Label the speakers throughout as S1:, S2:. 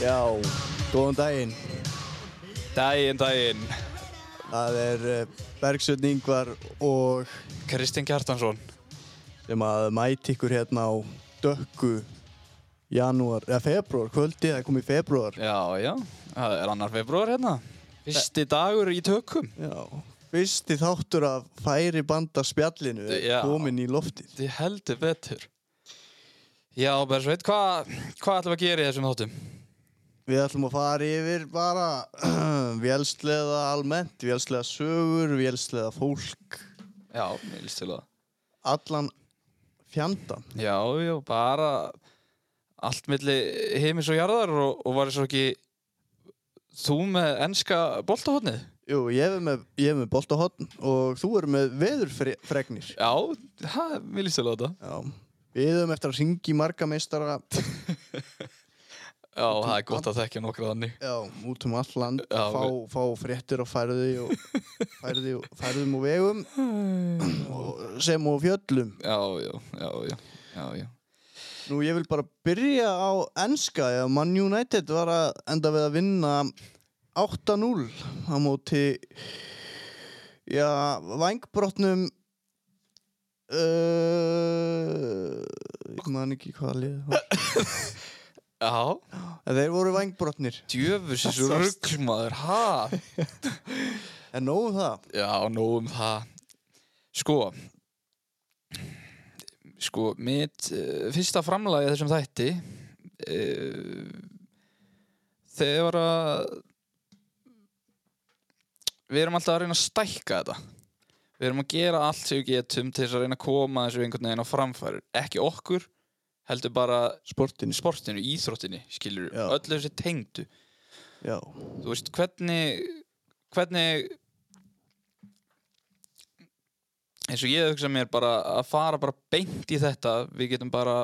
S1: Já, góðan daginn.
S2: Dæin, dæin,
S1: Það er eh, Bergsveinn Ingvar og
S2: Kristinn Kjartansson.
S1: sem að mæti ykkur hérna á dökku janúar, eða februar, kvöldi, það kom í februar.
S2: Já, já, það er annar februar hérna. Fyrsti dagur í tökum.
S1: Já, fyrsti þáttur af færi banda spjallinu
S2: Já.
S1: komin í loftið.
S2: Þið heldur betur. Já, Bersveit, hvað hva ætlum við að gera í þessum þáttum?
S1: Við ætlum að fara yfir bara vélslega almennt, vélslega sögur, vélslega fólk,
S2: Já, mér líst til það.
S1: allan fjandan.
S2: Já, já, bara allt milli heimis og jarðar og, og var svo ekki þú með enska boltahotnið.
S1: Jú, ég er með, ég er með boltahotn og þú er með veðurfregnir.
S2: Já, það, mér líst til það.
S1: Já, við höfum eftir að ringi marga meistara
S2: Já, það er gott að þekkja nokkra þannig.
S1: já, út um all land,
S2: Já,
S1: fá, fá fréttir og færði og færði og færðum og vegum og, sem og fjöllum.
S2: Já, já, já, já, já, já.
S1: Nú ég vil bara byrja á enska eða Man United var að enda við að vinna 8-0 á móti já, vangbrotnum uh, ég man ekki hvað liðið var
S2: Já,
S1: En Þeir voru vangbrotnir,
S2: Djöfusins
S1: Það sást.
S2: ruggmaður, ha?
S1: en nóg um það.
S2: Já, nóg um það. Sko, sko, mitt uh, fyrsta framlagi þessum þætti, uh, þegar að, við erum alltaf að reyna að stækka þetta. Við erum að gera allt sem við getum til þess að reyna að koma þessu einhvern veginn á framfæri. Ekki okkur, heldur bara
S1: Sportin,
S2: sportinu, íþróttinni, skilur,
S1: Já.
S2: öllu þessi tengdu.
S1: já.
S2: þú veist, hvernig hvernig eins og ég hugsa mér bara að fara bara beint í þetta við getum bara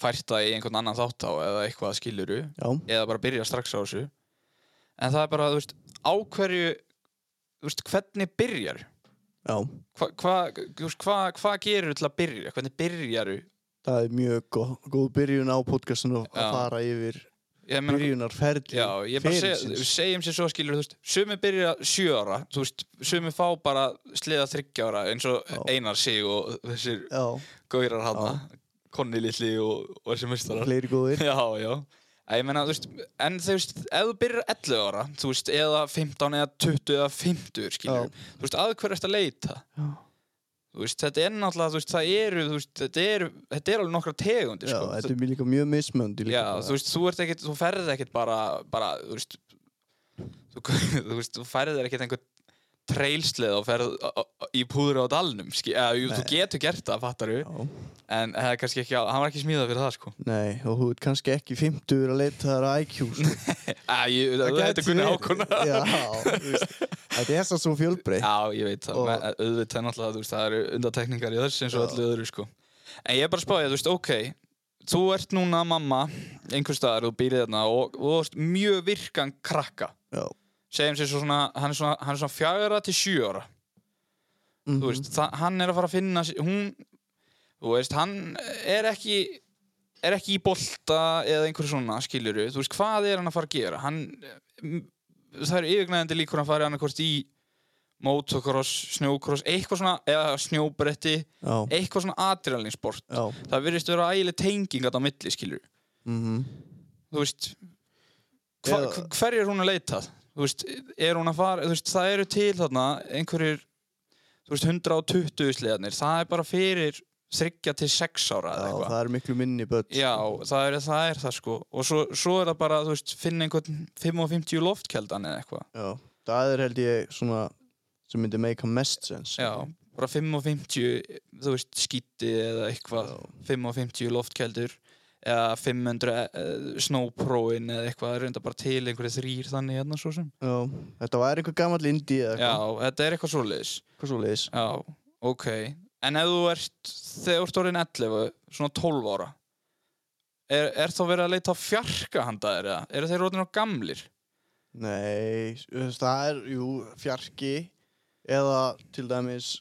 S2: fært það í einhvern annan þátt á eða eitthvað skiluru
S1: Já,
S2: eða bara byrja strax á þessu en það er bara, þú veist, á hverju þú veist, hvernig byrjar
S1: já,
S2: hvað hva, hva, hva, hva gerir til að byrja hvernig byrjar
S1: það er mjög góð, góð byrjun á podcastinu að
S2: Já.
S1: fara yfir
S2: ég meina,
S1: byrjunarferli
S2: Já, ég bara seg,
S1: ferilsins.
S2: segjum sér svo skilur, þú veist, sumi byrja sjö ára, þú veist, sumi fá bara sliða þryggja ára eins og
S1: Já.
S2: Einar sig og þessir
S1: Já,
S2: gaurar hana, Konni litli og, og þessi mistarar.
S1: fleiri góðir.
S2: Já, já. Að Ég meina, þú veist, en þú veist, ef þú byrjar 11 ára, þú veist, eða 15 eða 20 eða 50, skilur, þú veist, að hverju ertu að leita?
S1: Já,
S2: Þú veist, þetta er náttúrulega, þú veist, það eru, þú veist, þetta eru, þetta eru alveg nokkra tegundir,
S1: já
S2: sko.
S1: þetta er líka mjög mismönd.
S2: Já, þú veist, þú ert ekkert, þú ferð ekkert bara, bara, þú veist, þú, þú veist, þú ferð ekkert einhver trailslið og ferð á- á- á- í púðra á dalnum, skil, eða, jú, þú
S1: Nei.
S2: getur gert það, fattar við,
S1: Já,
S2: en það er kannski ekki, á- hann var ekki smíðað fyrir það, sko.
S1: nei, og þú ert kannski ekki 50 að leita þar að IQ. sko.
S2: Æ, ég, það
S1: gæti
S2: heitir Gunni
S1: verið.
S2: Hákona.
S1: Já, þú veist, þetta er þess að svo fjölbreytt.
S2: Já, ég veit það,
S1: Og-
S2: og... auðvitað er náttúrulega, þú veist, það eru undatekningar í þessu eins og
S1: Já.
S2: öllu öðru, sko. En ég er bara að spáði, þú veist, ok, þú ert núna mamma, einhvers staðar, þú býrið þarna og, og þú ert mjög virkan krakka.
S1: Já,
S2: segjum sér svo svona, hann er svona, hann er svona fjagra til sjö ára,
S1: mhm,
S2: þú veist, það, hann er að fara að finna, sig- hún, þú veist, hann er ekki, er ekki í bolta eða einhverju svona, skiluru, þú veist, hvað er hann að fara að gera, hann, mm, það eru yfirgnæðandi líkur að hann fari annarkvort í motocross, snjókross, eitthvað svona, eða snjóbretti,
S1: já,
S2: eitthvað svona adrenalinsport,
S1: já,
S2: það virðist vera ægileg tenging að á milli, skiluru,
S1: mhm,
S2: þú veist hva,
S1: Eða-
S2: hva, hver er hún að leita þú veist, er hún að fara þú veist, það eru til þarna einhverjir þú veist, 120 sliðarnir það er bara fyrir 3 til 6 ára
S1: já,
S2: eða eitthvað
S1: það er miklu minni börn.
S2: já, það er, það er það sko og svo, svo er það bara, þú veist, finna einhvern 55 loftkeldan eða eitthvað
S1: Já, það er held ég svona sem myndi make a mest sense.
S2: já, bara 55 þú veist, skíti eða eitthvað
S1: Já.
S2: 55 loftkeldur eða 500 uh, snowproin eða eitthvað, það er reynda bara til einhverju þrýr þannig hérna svo sem
S1: Já, þetta var einhver gammal indi eða
S2: Já,
S1: eitthvað,
S2: þetta er eitthvað svoleiðis
S1: eitthvað svo leiðis.
S2: Já, ok En ef þú ert, þegar þú ert orðin 11 svona 12 ára er, er þá verið að leita á fjarka handa þér eða? Eru þeir orðin á gamlir?
S1: Nei, þú veist, það er, jú, fjarki eða til dæmis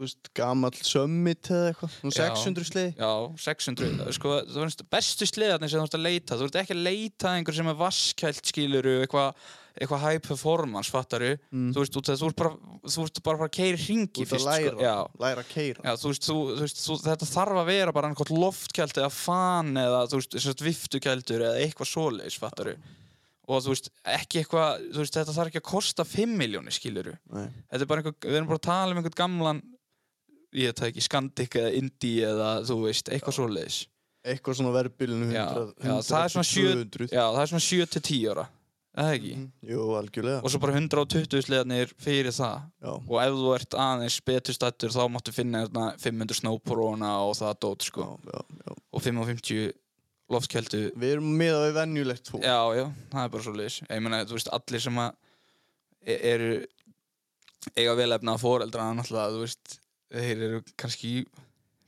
S1: þú veist, gamall summit eða eitthvað, svona
S2: Já.
S1: 600 sliði
S2: Já, 600 sko, þú veist, bestu sleðarnir sem þú ert að leita þú ert ekki að leita að einhver sem er vaskælt skiluru, eitthvað eitthvað high performance fattaru
S1: Mm.
S2: þú veist, út af- þú ert bara þú ert bara að fara að keiri
S1: Þú
S2: hringi
S1: ert að
S2: fyrst
S1: læra,
S2: sko. já,
S1: læra að keira
S2: Já, þú veist, þú, þú veist þú, þetta þarf að vera bara einhvern loftkjælt eða fan eða þú veist, sérst, viftukjældur eða eitthvað svoleiðis, fattaru og þú veist, ekki eitthvað, þú veist, þetta þarf ekki að kosta 5 miljónir, skiluru
S1: Nei.
S2: þetta er bara einhver, við erum bara að tala um einhvern gamlan ég veit það ekki, Scandic eða Indie eða þú veist, eitthvað svoleiðis
S1: Eitthvað svona verðbílinu 100,
S2: Já,
S1: 100
S2: já, það er svona
S1: til
S2: sjö-
S1: 200.
S2: Já, það er svona 7 til 10 ára, er það ekki
S1: Mhm. Jú, algjörlega
S2: og svo bara 120 sleðanir fyrir það
S1: Já,
S2: og ef þú ert aðeins betur stættur þá máttu finna hérna 500 snowporona og það dót sko
S1: já, já, já
S2: og 550 loftkjöldu
S1: Við erum með að við venjulegt fólk
S2: já, já, það er bara svo leiðis ég meina, þú veist, allir sem að e- eru eiga velefna að foreldra náttúrulega, þú veist, þeir eru kannski í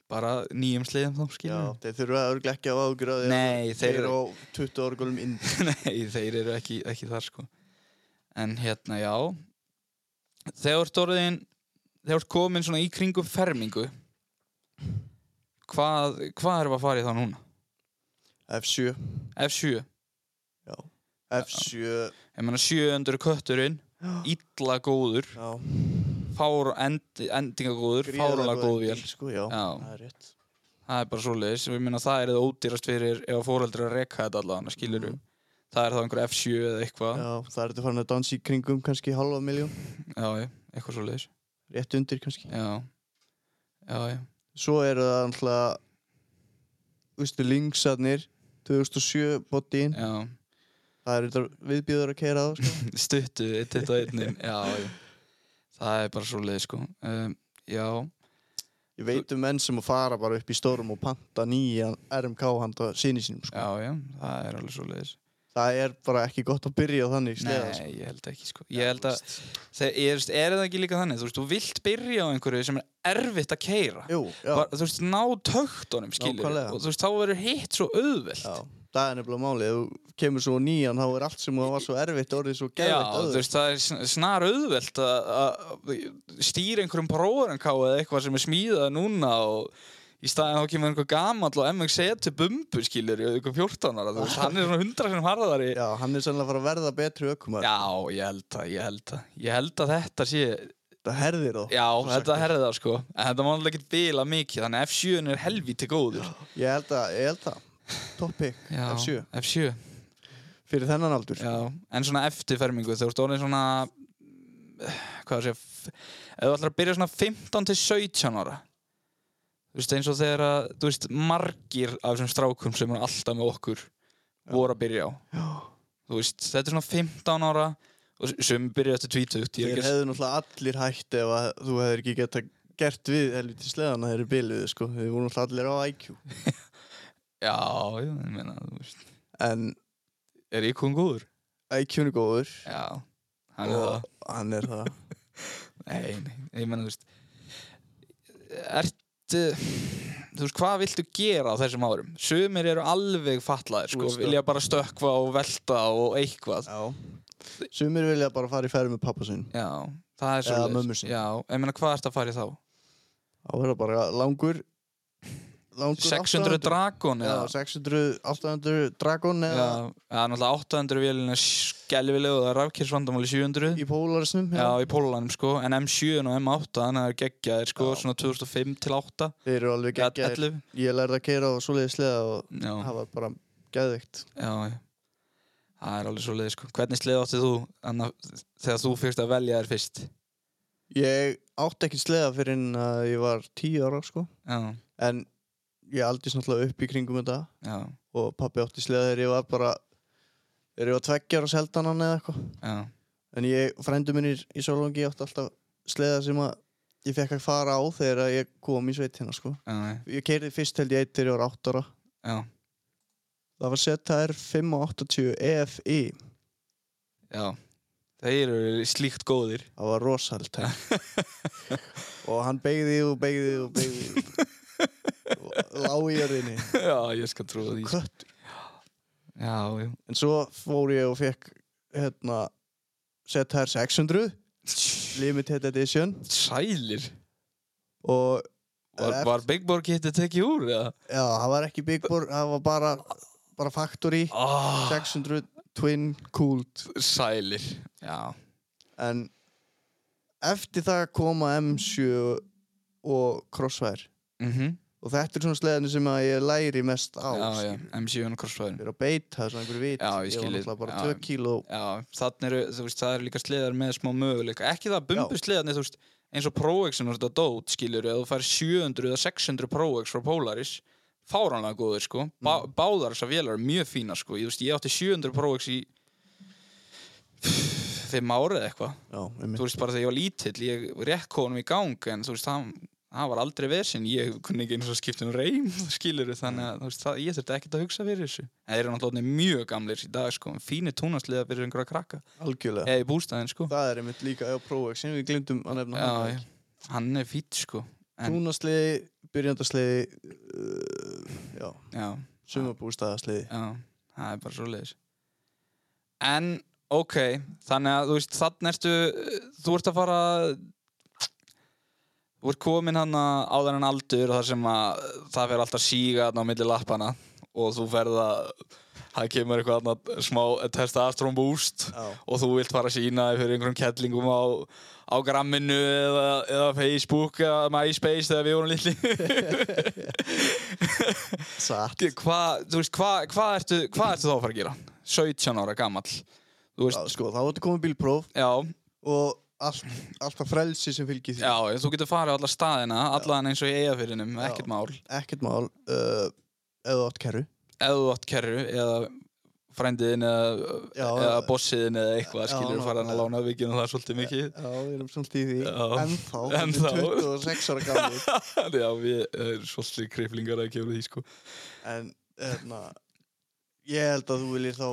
S2: bara nýjum sliðum þá
S1: Já,
S2: skilur
S1: þeir þurfa örugglega ekki að ágjöra því að
S2: Nei, þeir
S1: þeir eru
S2: eru
S1: á 20 ára gólum inn
S2: Nei, þeir eru ekki, ekki þar sko En hérna, já Þegar þú ert orðin Þegar þú ert komin svona í kringum fermingu Hvað Hvað erum við að fara í þá núna?
S1: F7
S2: F7
S1: F7
S2: Ég meina 700 kötturinn Illa góður
S1: Já,
S2: fár, end, endingagóður, fárulega góð vél
S1: sko, já,
S2: Já.
S1: það er rétt
S2: það er bara svoleiðis, ég meina það er það ódýrast fyrir ef fóreldrar að reka þetta allavega skilur um, það er þá einhver F7 eða eitthvað já,
S1: Mhm. Já, það ertu farin að dansa í kringum kannski halva miljón,
S2: já, eitthvað svoleiðis
S1: rétt undir kannski
S2: já, já, já,
S1: Svo eru það alltaf Ústu linksarnir 2007 bodyin
S2: já.
S1: Það eru þetta viðbjöður að keira á sko.
S2: stuttu, þetta einnig já, já, það er bara svoleiðis sko um, já,
S1: Ég veit um menn sem að fara bara upp í stórum og panta nýjan RMK handa sinni sínum sko.
S2: já, já, það er alveg svoleiðis
S1: Það er bara ekki gott að byrja á þannig sleða,
S2: nei,
S1: sko.
S2: ég held ekki sko ég held að, þegar, ég veist, er það ekki líka þannig þú veist, þú vilt byrja á einhverju sem er erfitt að keira
S1: Jú, já,
S2: bara, þú veist, ná töktunum skilur
S1: Nákvæmlega.
S2: og þú veist, þá verður hitt svo auðvelt
S1: já Það er nefnilega málið, ef þú kemur svo á nýjan þá er allt sem það var svo erfitt orðið svo
S2: Já,
S1: geðvitt
S2: þú veist, það er sn- snar auðvelt að- að stýra einhverjum prófaranká eða eitthvað sem er smíðað núna og í staðin þá kemur einhver gamall og MX-E til bumbu skilur í einhver 14 ára, þú veist, hann er svona 100 sem harðari
S1: Já, hann er sannlega að fara að verða betri ökumar
S2: Já, ég held það, ég held það Ég held að þetta sé,
S1: Það herðir þá
S2: já,
S1: Svo sagt
S2: þetta
S1: er.
S2: herði það sko En þetta má alveg ekki bila mikið, þannig að F7 er helvíti góður
S1: Ég held að, ég held að Toppick,
S2: Já,
S1: F7
S2: F7
S1: Fyrir þennan aldur
S2: Já, en svona eftirfermingu þú ert orðin svona hvað það sé ef þú ætlar að byrja svona 15 til 17 ára þú veist eins og þegar að þú veist margir af þessum strákum sem eru alltaf með okkur voru að byrja á
S1: Já.
S2: þú veist, þetta er svona 15 ára og sem byrja eftir 20 ég er
S1: Þeir
S2: ekki að-
S1: hefðu náttúrulega allir hægt ef að þú hefur ekki geta gert við helviti sleðan að þeir eru biluðu sko Þeir voru náttúrulega allir á IQ
S2: Já, já, ég meina, þú veist
S1: En
S2: er ég kún góður?
S1: IQ-n er góður
S2: Já, hann er það
S1: og hann er það
S2: Nei, nei, ég menna, þú veist Ertu Þú veist, hvað viltu gera á þessum árum? Sumir eru alveg fatlaðir,
S1: Þú
S2: sko
S1: veist það.
S2: Vilja bara stökkva og velta og eitthvað
S1: Já Sumir vilja bara fara í ferð með pappa sinn
S2: Já, það er
S1: Eða
S2: svo
S1: mömmu sinni.
S2: Já, ég meina, hvað ertu að fara í þá?
S1: Þá er það bara langur Langur
S2: 600
S1: 800.
S2: dragon
S1: Já,
S2: eða
S1: 600, 800 dragon
S2: Já,
S1: eða
S2: það er náttúrulega 800 vélina skelvileg og það er rafkjörsvandamáli 700
S1: í pólarisnum
S2: Já, í Pólanum sko, en M7 og M8 þannig að það er geggjaðir sko,
S1: Já.
S2: svona 2005 til 8
S1: Þeir eru alveg geggjaðir
S2: 11
S1: Ég lærði að keira á svoleiðis sleða og
S2: Já.
S1: það var bara geðvikt
S2: Já, já. Það er alveg svo leið, sko. Hvernig sleið áttið þú anna, þegar þú fyrst að velja þér fyrst?
S1: Ég átti ekki sleða fyrir en að ég var tíu ára sko
S2: Já,
S1: en ég aldrei náttúrulega upp í kringum þetta
S2: já,
S1: og pappi átti sleða þegar ég var bara þegar ég var tveggjar og seldan hann eða eitthvað
S2: já,
S1: en ég, frændu minnir í Sólungi átti alltaf sleða sem að ég fekk að fara á þegar að ég kom í sveit hérna sko
S2: já,
S1: ég keiri fyrst held ég eitt þegar ég var átt ára
S2: já,
S1: það var ZR 580 EFI
S2: já. Þeir eru slíkt góðir.
S1: það var rosalt og hann beigði og beigði og beigði og lá í jörðinni
S2: já, ég skal trúa því. sko.
S1: kött
S2: Já, já.
S1: En svo fór ég og fekk hérna ZR 600 Limited Edition
S2: Sælir.
S1: og
S2: Var,
S1: Eft-
S2: var Big Borg getið tekið úr? eða?
S1: já, það var ekki Big Bor það var bara, bara Factory
S2: Ah,
S1: 600 Twin Cooled
S2: sælir Já,
S1: en eftir það koma M7 og Crossfire
S2: mhm
S1: og þetta er svona sleðinu sem að ég læri mest á
S2: já, já,
S1: skilur.
S2: M7 og crossfire
S1: Ég er að beita svona einhverju vit
S2: Já, ég
S1: var
S2: skil þig.
S1: náttúrulega bara
S2: Já.
S1: 2 kíló
S2: Já, þannig eru, þú veist, það eru líka sleðar með smá möguleika Ekki það að bumbu sleðarnir, þú veist eins og ProX-un og þetta dót, skilur eða þú fær 700 eða 600 ProX frá Polaris fáránlega góður, sko Bá, Báðar þessar vélar eru mjög fína, sko Ég, þú veist, ég átti 700 ProX í fimm ára eða eitthvað
S1: já, einmitt.
S2: þú veist bara þegar ég var lítill ég rekk honum í gang en þú veist það, það var aldrei vesinn ég kunni ekki eins og skipta um reym skilur þannig að þú veist, það, ég þurfti ekkert að hugsa fyrir þessu en þeir eru náttúrulega orðnir mjög gamlir í dag sko fínir túnastliða fyrir einhverja krakka
S1: algjörlega
S2: eða í bústæðin sko
S1: það er einmitt líka á ProX sem við glimtum að nefna
S2: já, já. hann er fýtt sko en-
S1: túnasliði, byrjandasliði uh, já,
S2: já,
S1: sumabústaðasliði
S2: já, það er bara svo leiðis en ok þannig að þú veist þannig ertu þú ert að fara þú ert komin hann á þennan aldur þar sem að það fer alltaf síga hann á milli lappana og þú ferð að það kemur eitthvað annað smá testosterone boost
S1: já,
S2: og þú vilt fara að sína þig fyrir einhverjum kettlingum á, á gramminu eða, eða Facebook eða MySpace þegar við vorum litli
S1: satt
S2: Ge- hvað, þú veist, hvað hva ertu, hva ertu þá að fara að gera? 17 ára gamall Þú
S1: já,
S2: veist,
S1: sko, þá ertu komið bílpróf
S2: já,
S1: og allt, allt það frelsi sem fylgir því
S2: já, þú getur farið á alla staðina, allan eins og í eigafyrinum, ekkert mál
S1: ekkert mál uh, eða átt kerru
S2: Eða þú átt kerru, eða frændiðin eða,
S1: Já,
S2: eða
S1: já.
S2: bossiðin eða eitthvað,
S1: Já,
S2: skilur
S1: já,
S2: farið hann
S1: já.
S2: að lána vikinu það er svolítið mikið
S1: já, við erum svolítið í því
S2: Já.
S1: ennþá,
S2: Ennþá.
S1: ennþá. 26 ára gamli
S2: Já, við erum svolítið kriflingar að gefa því, sko
S1: en hérna, ég held að þú viljir þá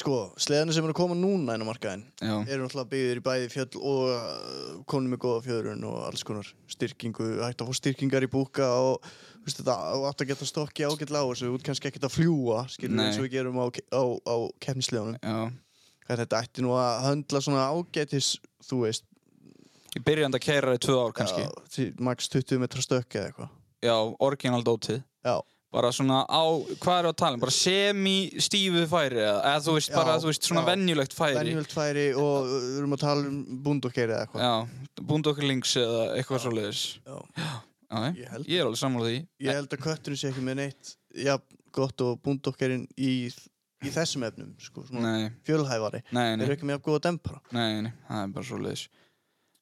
S1: sko, sleðanir sem eru að koma núna inn á markaðin
S2: Já,
S1: eru náttúrulega byggðir í bæði fjöll og uh, konum með góða fjöðrun og alls konar styrkingu, hægt að fá styrkingar í búka og þú veist, þetta og átt að geta stokki ágætlega á þessu, út kannski ekkert að fljúa skilur
S2: Nei.
S1: eins og við gerum á, á, á kefnisleðunum,
S2: já
S1: þetta ætti nú að höndla svona ágætis, þú veist
S2: Ég byrjandi að kæra í tvö ár kannski
S1: já, því max 20 metra stökki eða eitthvað
S2: Já, orginal dótið
S1: já,
S2: bara svona á, hvað er að tala um, bara semi-stífu færi eða, eða þú veist
S1: Já,
S2: bara, þú veist, svona
S1: já.
S2: venjulegt færi
S1: venjöld færi og uh, við erum að tala um bundokkeiri eða eitthvað
S2: já, búnd okkur links eða eitthvað svo leiðis
S1: Já.
S2: ég,
S1: Ég held-
S2: ég er alveg sammála því
S1: ég held að kötturinn sé ekki með neitt já, gott og bundokkerinn í, í þessum efnum, sko, svona
S2: nei,
S1: fjölhæfari
S2: nei,
S1: Þeir
S2: nei,
S1: eru ekki með að góða dempara.
S2: nei, nei, það er bara svo leiðis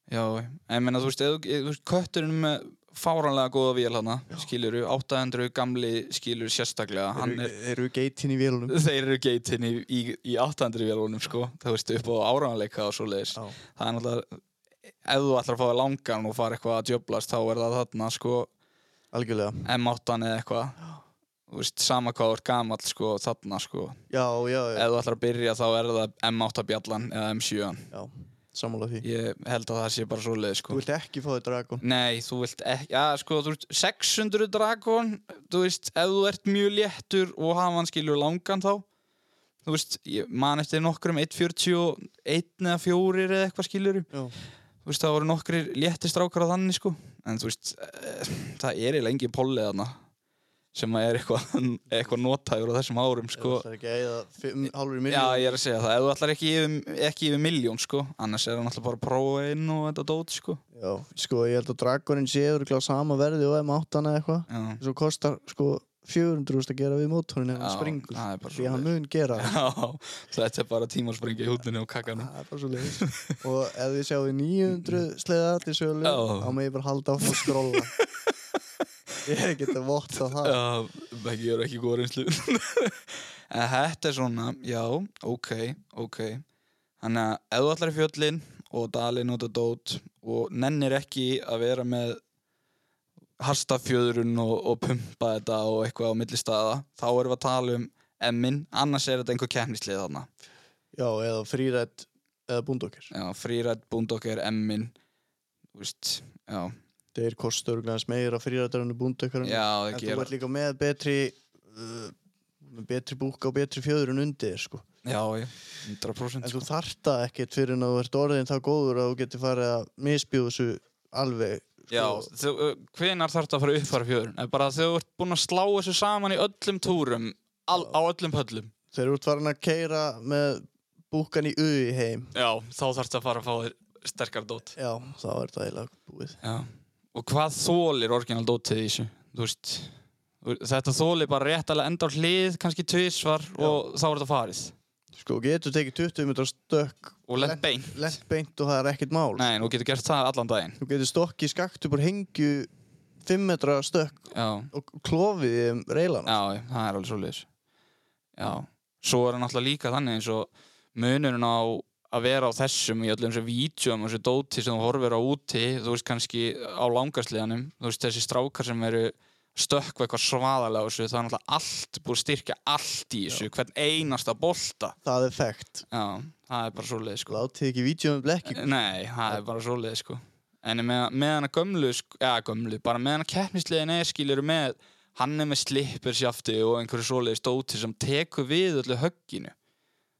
S2: já, en meina, þú veist, eð, eð, þú veist kötturinn með fáranlega góða vél hana, skilur 800 gamli skilur sérstaklega
S1: Þeir
S2: hann
S1: eru,
S2: er,
S1: eru geitin í vélunum.
S2: þeir eru geitin í, í, í 800 vélunum, sko, þú veist, upp á áranleika og svo leiðis
S1: Já,
S2: það er náttúrulega ef þú ætlar að fá þér langan og fara eitthvað að djöblast þá er það þarna sko
S1: algjörlega.
S2: M8 eða eitthvað þú veist, sama hvað þú ert gamall sko þarna sko
S1: Já, já, já,
S2: ef þú ætlar að byrja þá er það M8 bjallan eða M7
S1: já. Samála því.
S2: ég held að það sé bara svoleið
S1: Þú
S2: sko
S1: vilt ekki fá þér dragon.
S2: Nei, þú vilt ekki, já sko, þú veist, 600 dragon, þú veist, ef þú ert mjög léttur og hafa hann skilur langan þá, þú veist, ég man eftir nokkrum 1.41 eða 4 eða eitthvað skilur,
S1: Já,
S2: þú veist, það voru nokkrir léttir strákar á þannig, sko, en þú veist, eh, það er eiginlega engin pollið þarna sem að er eitthvað eitthvað notægur á þessum árum, sko.
S1: Það er ekki að eða fimm, hálfur
S2: Já,
S1: miljón.
S2: ég er að segja það, ef þú ætlar ekki yfir, ekki yfir miljón, sko, annars er það náttúrulega bara prófa inn og þetta dót, sko.
S1: Já, sko, ég held að dragonin sé örugglega á sama verði og M8 eða eitthvað.
S2: Já,
S1: Svo kostar, sko, 400.000 að gera við mótorinn ef hann
S2: Já,
S1: springur.
S2: það er bara
S1: Því að hann
S2: svoleiðis.
S1: mun gera það.
S2: Já, þetta er bara tíma að springa í húninu og kakkanum.
S1: Það er bara svo leiðis. og ef þið sjáu 900 sleða til sölu,
S2: Já.
S1: þá má ég bara halda á að skrolla. ég get að votta það.
S2: Já, ekki, ég er ekki góð reynslu. en þetta er svona, já, ok, ok. Þannig að ef þú ætlar í fjöllin og dalinn út að dót og nennir ekki að vera með hastafjöðrun og, og pumpa þetta og eitthvað á milli staða, þá erum við að tala um emmin, annars er þetta einhver keppnislið þarna.
S1: Já, eða frírætt eða búndokkir.
S2: Já, frírætt búndokkar, emmin, þú veist, já,
S1: Þeir kostu örgulega eins meira frírættar en búndokkar.
S2: já, það
S1: en þú
S2: gera.
S1: ert líka með betri, uh, með betri búka og betri fjöður en undir, þér, sko.
S2: Já, já, 100%
S1: En
S2: sko.
S1: þú þarta ekkert fyrir en að þú ert orðin það góður að þú getur farið að misbjóðu þessu alveg
S2: Já, þú, hvenar þarf að fara upp fara fjörun? Er bara þegar þú ert búinn að slá þessu saman í öllum túrum, al, á öllum pöllum.
S1: Þeir eru út farin að keira með búkan í uði heim.
S2: Já, þá þarfst að fara að fá þér sterkar dót.
S1: Já, þá er það eiginlega búið.
S2: Já. Og hvað þólir orginal dótið í þessu? Þú veist, þetta þólir bara rétt að enda á hlið, kannski tvisvar og þá er þetta farið.
S1: Sko, getur tekið 20 minnur stökk,
S2: Og lent
S1: Lent-
S2: beint.
S1: lent beint og það er ekkert mál.
S2: Nei, nú getur gert það allan daginn.
S1: Þú getur stokkið skakt upp úr hengju 5 metra stökk
S2: Já,
S1: og klofið í um reilana.
S2: já, já, það er alveg svo leiðis. Já, svo er hann alltaf líka þannig eins og munurinn á að vera á þessum í öllum þessum vítjum og þessu dóti sem þú horfir á úti, þú veist kannski á langarsliðanum, þú veist þessi strákar sem eru stökkva eitthvað svaðalega á þessu, það er náttúrulega allt búið að styrkja allt í þessu, hvern einasta bolta.
S1: Það er fækt.
S2: Já, það er bara svo leiðis sko.
S1: Látið ekki vítjum um blekki.
S2: Nei, það er bara svoleið sko En með, með hana gömlu, sko, ja gömlu bara með hana keppnisliðin er skilur með hann er með slippersjafti og einhverju svoleiðis dóti sem tekur við öllu högginu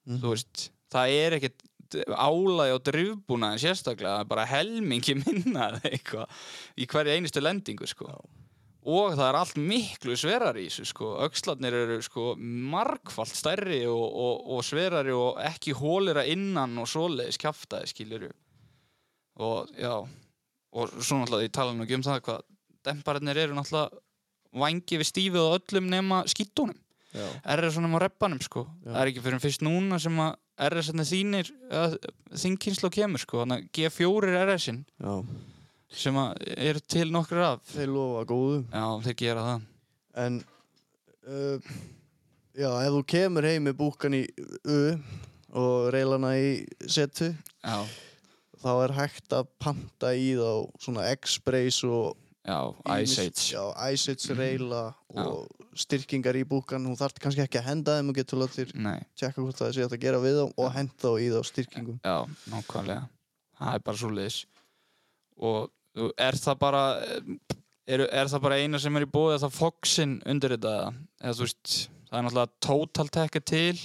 S1: Mhm.
S2: Þú veist, það er ekkert álæg og drifbúnaðin sérstaklega það er bara helmingi minna eða eitthvað í hverju einustu lendingu sko og það er allt miklu sverar í þessu sko aukslarnir eru sko margfalt stærri og, og, og sverari og ekki hólera innan og svoleiðis kjaftaði skilur og já og svo náttúrulega ég tala nú ekki um það hvað dempararnir eru náttúrulega vangi við stífið á öllum nema skittunum
S1: Já.
S2: RS-unum á reppanum sko
S1: Já.
S2: það er ekki fyrir en fyrst núna sem að RS-unum þínir að þinginslu kemur sko þannig að G4 er RS-in
S1: Já.
S2: sem að eru til nokkur af
S1: Þeir lofa góðu.
S2: já þeir gera það
S1: En, uh, já, ef þú kemur heim með búkan í U og reilana í setu,
S2: já,
S1: þá er hægt að panta í þá svona X-Brace og
S2: já,
S1: ýmis-
S2: Ice Age Mhm.
S1: já, Ice Age reila og styrkingar í búkan hún þarf kannski ekki að henda þeim og getur látið
S2: nei,
S1: tjekka hvort það sé hægt að gera við þá og henda þá í þá styrkingum
S2: já, nákvæmlega það er bara svo leiðis og þú- er það bara er, er það bara eina sem er í bóði að það Foxin undir þetta eða þú veist, það er náttúrulega Total Tech er til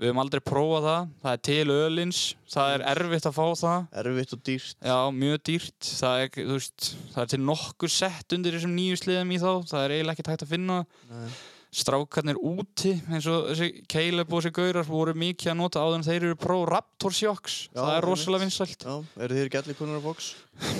S2: við höfum aldrei prófað það það er til ölins, það er erfitt að fá það
S1: erfitt og dýrt
S2: Já, mjög dýrt það er, ekki- þú veist, það er til nokkur sett undir þessum nýju sliðum í þá það er eiginlega ekkert hægt að finna
S1: Nei.
S2: strákarnir úti eins og þessi Caleb og þessi gaurar voru mikið að nota áður en þeir eru pro Raptor Shocks
S1: Já,
S2: það er
S1: einmitt.
S2: rosalega vinsælt
S1: já, eru þér ekki allir konar á box?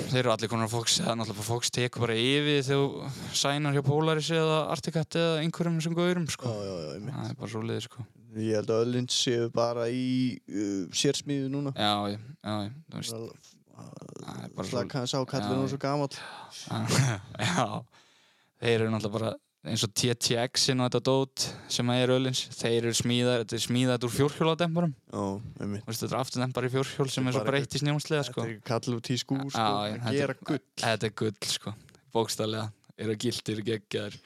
S2: þeir eru allir konar af Fox það er náttúrulega bara Fox tekur bara yfir þegar þú sænar hjá Polaris eða Articat eða einhverjum sem gaurum
S1: já,
S2: sko.
S1: já, já, einmitt.
S2: það er bara svo sko.
S1: ég held að öllins séu bara í uh, sérsmíðu núna
S2: já, já, já, þú veist það er bara svo
S1: slaka hans á
S2: Já,
S1: kallinu og
S2: já.
S1: svo gamall
S2: Já, þeir eru náttúrulega bara eins og TTX-in og þetta dót sem að er öllins, þeir eru smíðar þetta er smíðað úr fjórhjóladembarum
S1: já, einmitt
S2: Þú veist, þetta er afturdempar í fjórhjól
S1: Þetta
S2: sem er
S1: er
S2: svo
S1: bara
S2: breytt í snjómslega
S1: þetta
S2: sko.
S1: er ekki kall út í skúr sko,
S2: Já, já,
S1: að
S2: þetta-
S1: gera gull
S2: þetta er gull sko. bókstallega, eru gildir geggjar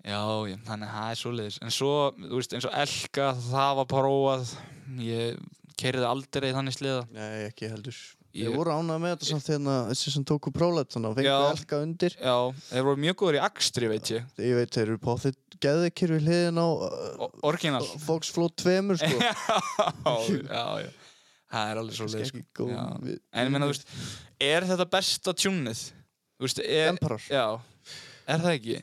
S2: já, já, þannig að það er svoleiðis en svo, þú veist, eins og Elka það var prófað ég keiriði aldrei þannig sliða
S1: nei, ekki heldur
S2: Ég-
S1: ég voru ánað með þetta samt þegar þessi sem tóku prólætt þannig að fengu
S2: Já.
S1: elka undir
S2: já, þeir voru mjög góður í akstri, veit ég
S1: ég veit þeir eru potið geðekir við hliðin á uh,
S2: O- orginal
S1: Fox Float 2 sko
S2: já, já, já. Það er alveg svo
S1: Kannski
S2: leið
S1: ekki
S2: sko.
S1: góð
S2: Já.
S1: við-
S2: En ég meina, þú veist, er þetta besta tjúnið? Þú veist, er,
S1: Demparar
S2: já, er það ekki?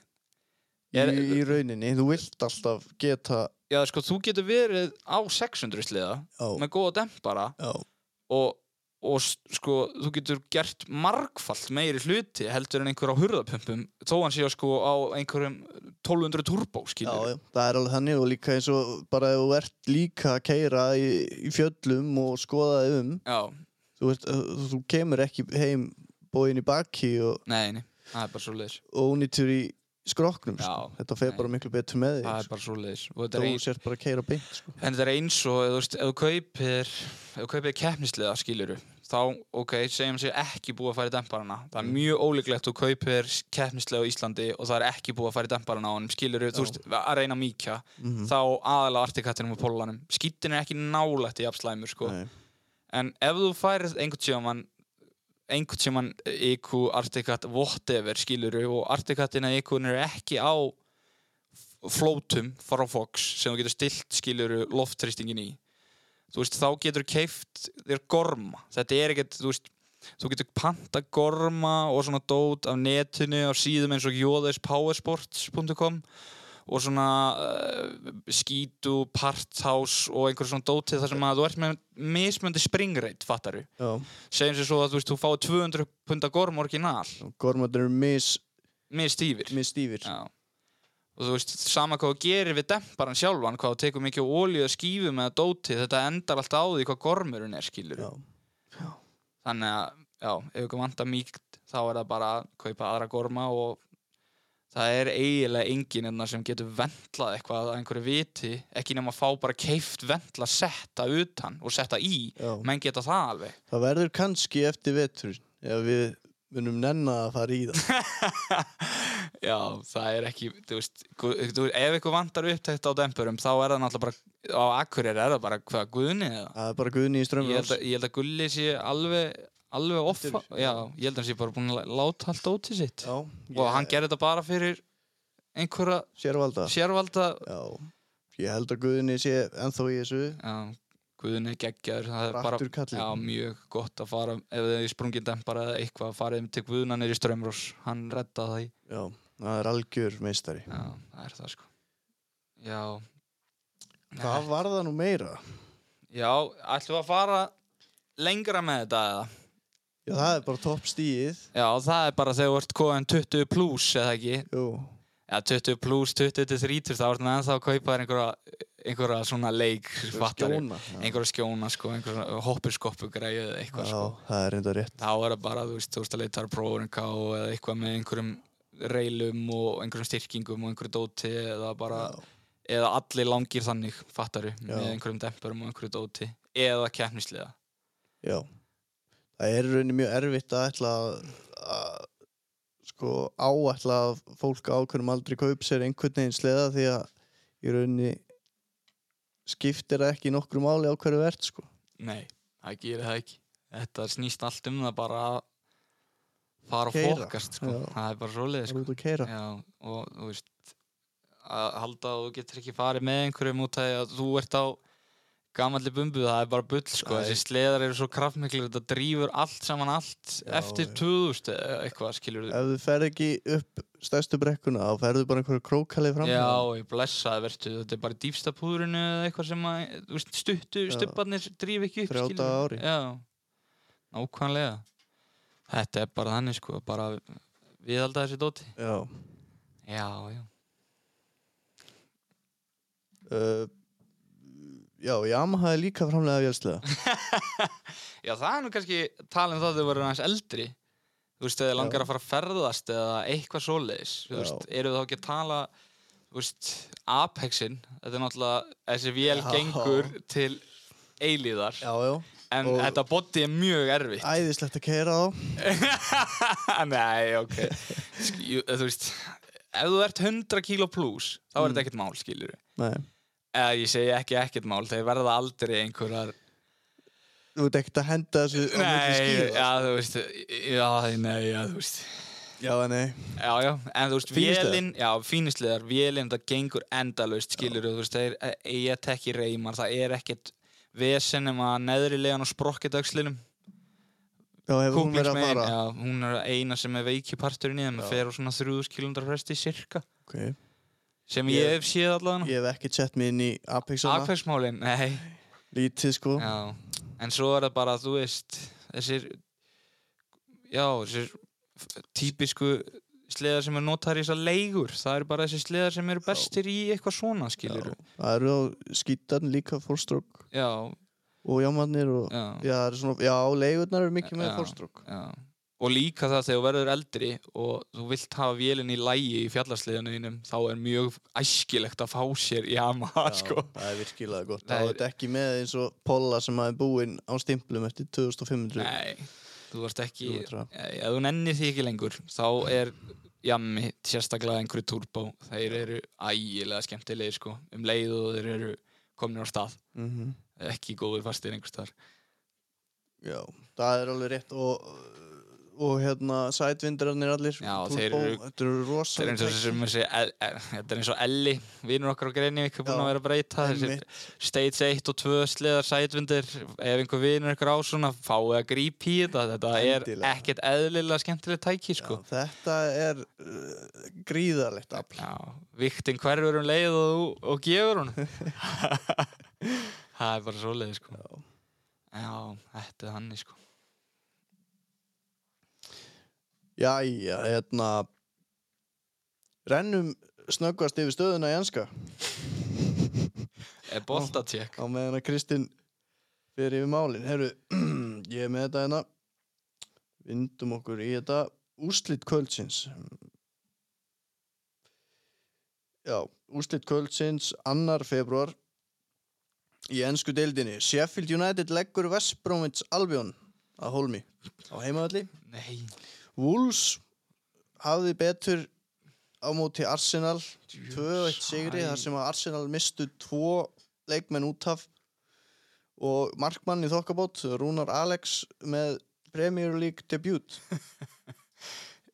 S2: Er,
S1: í, í rauninni, þú vilt alltaf geta
S2: já, sko, þú getur verið á 600 sliða
S1: já,
S2: með góða dempara
S1: já,
S2: og, og s- sko, þú getur gert margfalt meiri hluti heldur en einhver á hurðapumpum þó hann sé á, sko á einhverjum 1200 turbo,
S1: já,
S2: skilur.
S1: já, það er alveg þannig og líka eins og bara ef þú ert líka að keira í, í fjöllum og skoða þig um
S2: Já,
S1: þú, ert, uh, þú kemur ekki heim bóin í baki og
S2: nei, nei, það er bara svo leiðis.
S1: ónýtur í skroknum
S2: Já,
S1: sko. þetta fer
S2: nei.
S1: bara miklu betur með
S2: Það
S1: þig sko.
S2: er bara svo leiðis. Og þetta
S1: þú
S2: er ein-
S1: sért bara að keira beint sko.
S2: En þetta er eins og ef þú veist, ef þú kaupir ef þú kaupir keppnisliða skiluru þá, ok, segjum sér ekki búið að fara í demparana það
S1: Mm.
S2: er mjög ólíklegt þú kaupir keppnisliða á Íslandi og það er ekki búið að fara í demparana á honum skiluru, þú veist, að reyna að mýkja
S1: mm
S2: þá aðalega artikattinum og pólunum skýttin er ekki nálægt í apslæmur sko. en ef þú færið einhvern tíman einhvern tíman IQ, Articat, whatever skiluru og Articatina IQ-un eru ekki á flótum frá Fox sem þú getur stilt skiluru loftristingin í þú veist, þá getur keift þér gorma þetta er ekkert, þú veist þú getur panta gorma og svona dót af netinu á síðum eins og jóðispowersports.com og svona uh, skítu, parthouse og einhver svona dóti þar sem að þú ert með mismöndi springreit, fattar við
S1: Já,
S2: segjum sér svo að þú veist, þú fáið 200 punda gorm orginal,
S1: og gormarnir eru mis,
S2: misstífir
S1: misstífir.
S2: Já. Og þú veist, sama hvað þú gerir við demparan sjálfan, hvað þú tekur mikið ólíu að skífum eða dóti, þetta endar alltaf á því hvað gormurinn er, skilur.
S1: Já.
S2: Þannig að, já, ef ykkur vantar mýkt, þá er það bara að kaupa aðra gorma og það er eiginlega enginn enna sem getur vendlað eitthvað að einhverju viti, ekki nema að fá bara keift vendla setta utan og setta í,
S1: Já.
S2: menn geta það alveg.
S1: Það verður kannski eftir vetur ef við munum nenna að fara í það.
S2: Já, það er ekki, þú veist, gu- þú, ef ykkur vantar upptækt á dempurum, þá er það náttúrulega bara, á Akureyri er það bara hvað guðni eða.
S1: Það er bara guðni í
S2: Ég
S1: strömmur
S2: held, að, ég held að Gulli sé alveg, alveg offa,
S1: Eftir-
S2: já, ég held að hann sé bara búin að lá- láta allt óti sitt.
S1: Já,
S2: Og hann gerði þetta bara fyrir einhverja
S1: sérvalda.
S2: sérvalda,
S1: Já, ég held að guðni sé ennþá í þessu.
S2: já, guðni geggjaður, það er bara,
S1: Rattur kallið.
S2: já, mjög gott að fara, ef þið sprungin dempar eða eitthvað, farið til guðna nýri strömrós, hann redda það í.
S1: Já, það er algjör meistari.
S2: Já, það er það sko Já
S1: Hvað var það nú meira?
S2: Já, ætlum við að fara lengra með þetta eða?
S1: Já, það er bara topp stíið.
S2: Já, það er bara þegar þú ert koðin 20 plus eða ekki
S1: Jú,
S2: Já, 20 plus, 20 til 30 þá ertu ennþá að kaupa þér einhverja einhverja svona leik, fattar
S1: skjóna. Já,
S2: einhverja skjóna, sko, einhverja hoppiskoppu greiðu eða
S1: Já,
S2: eitthvað, sko
S1: það er enda rétt.
S2: þá er það bara, þú veist, þú veist að leita að prófurinn eða eitthvað með einhverjum reilum og einhverjum styrkingum og einhverju dóti eða bara
S1: Já.
S2: eða allir langir þannig, fattaru
S1: Já.
S2: með einhverjum dempurum og einhverju dóti eða keppnislega
S1: Já, það er í rauninni mjög erfitt að ætla að, að sko áætla að fólk á hverjum aldrei kaup sér einhvern veginn sleða því að í rauninni skiptir það ekki nokkru máli á hverju verð sko.
S2: Nei, það gerir það ekki Þetta snýst allt um það bara að fara og
S1: Keyra,
S2: fokast sko.
S1: já.
S2: það er bara svoleiði
S1: Það
S2: sko.
S1: er út að keira.
S2: Já, og þú veist að halda að þú getur ekki farið með einhverjum út af því að þú ert á gamalli bumbu, það er bara bull sko.
S1: Æ.
S2: þessi sleðar eru svo kraftmiklir þetta drífur allt saman allt
S1: Já,
S2: eftir
S1: já.
S2: 2000 eða eitthvað skilur
S1: Ef þú ferð ekki upp stærstu brekkuna þá ferðu bara einhverju krókalið fram.
S2: Já, ég blessaði vertu, þetta er bara dýfsta púðurinu eða eitthvað sem að, þú veist, stuttu,
S1: Já.
S2: stubbarnir drýf ekki upp,
S1: Þrjá
S2: skilurðu.
S1: daga á ári.
S2: Já, nákvæmlega. Þetta er bara þannig, sko, bara viðalda þessi dóti.
S1: Já.
S2: Já, já.
S1: Uh, já, Yamaha er líka framlega vélslega.
S2: Já, það er nú kannski tala um það að þau voru aðeins eldri. Þú veist, eða langar að fara að ferðast eða eitthvað svoleiðis. Þú
S1: Já.
S2: veist, eru þá ekki að tala, þú veist, Apexin, þetta er náttúrulega, þessi vél
S1: Já.
S2: gengur til eilíðar.
S1: Já, já.
S2: En
S1: og-
S2: þetta body er mjög erfitt.
S1: Æðislegt að keira þá.
S2: Nei, ok Sk- jú, Þú veist Ef þú ert 100 kíló pluss Þá er þetta
S1: Mm.
S2: ekkert mál, skilur
S1: Nei.
S2: Eða ég segi ekki ekkert mál Þeir verða aldrei einhverjar
S1: Þú ert ekkert að henda þessu á milli
S2: Nei,
S1: skíða.
S2: já, þú veist Já, nei, já, þú veist
S1: Já, nei.
S2: Já, já, en þú veist,
S1: Fínisliðar?
S2: vélinn, já, fínisliðar, vélinn, það gengur endalaust, skilur þú veist, e, það er, ég tekki reymar, það er ekkert vesen um að neðri legan og sprokkið dagslinum,
S1: Já, hefur hún verið að
S2: kúplingsmegin,
S1: fara.
S2: já, hún er eina sem er veikiparturinn í þeim,
S1: Já.
S2: það fer á svona 3000 km fresti cirka.
S1: Okay.
S2: sem
S1: Ég-
S2: ég hef séð allavega
S1: Ég hef ekki sett mig inn í Apex hana,
S2: Apex-málin, nei
S1: lítið sko.
S2: já. en svo er það bara, þú veist þessir já, þessir f- típisku sleðar sem er notar í þessar leigur það eru bara þessir sleðar sem eru bestir í eitthvað svona, skilur já,
S1: Það eru á skítan líka fórstrók
S2: já,
S1: og jámannir og já,
S2: já,
S1: það eru svona, já leigurnar eru mikið með
S2: Já.
S1: fórstrók.
S2: og líka það þegar þú verður eldri og þú vilt hafa vélinn í lægi í fjallarsliðanuðinum, þá er mjög æskilegt að fá sér í Yamaha, sko
S1: það er virkilega gott.
S2: Það
S1: Það
S2: er-
S1: er ekki með eins og Polla sem hafi búinn á stimplum eftir 2500
S2: Nei, þú varst ekki
S1: km.
S2: Eh, ef þú nennir því ekki lengur þá er jammi sérstaklega einhverju turbo þeir eru ægilega skemmtilegir sko um leið og þeir eru komin á stað
S1: Mm
S2: ekki góður fastir einhvers þar
S1: Já, það er alveg rétt og uh, og hérna sætvindrarnir allir
S2: Já,
S1: Turbo,
S2: þeir eru-
S1: þetta eru
S2: Þetta er eins
S1: rosalega
S2: og sem þessi, El- El- þetta er eins og Elli, vinnur okkar á Greinvík, er búin
S1: Já,
S2: að vera að breyta þessi
S1: einmitt.
S2: stage 1 og 2 sleðar sætvindir, ef einhver vinnur ykkur á svona, fáið að grípa í þetta, þetta er
S1: Endilega.
S2: ekkert eðlilega skemmtilegt tæki, sko.
S1: Já, þetta er uh, gríðarlegt afl
S2: Já, viktin hverfur um leið og, þú- og gefur hún. það er bara svo leið, sko.
S1: Já.
S2: Já, þetta er þannig, sko.
S1: Jæja, hérna rennum snöggvast yfir stöðuna í enska
S2: Er boltatjekk?
S1: á meðan að Kristinn fyrir yfir málin Herru, ég er með þetta hérna vindum okkur í þetta úrslit kvöldsins Já, úrslit kvöldsins 2. februar í ennsku deildinni Sheffield United leggur West Bromwich Albion að Holmi á heimavalli
S2: Nei,
S1: Wolves hafði betur á móti Arsenal
S2: djöfull
S1: 2-1 sigri
S2: sæl.
S1: þar sem að Arsenal mistu tvo leikmenn út af og markmann í þokkabót Rúnar Alex með Premier League debut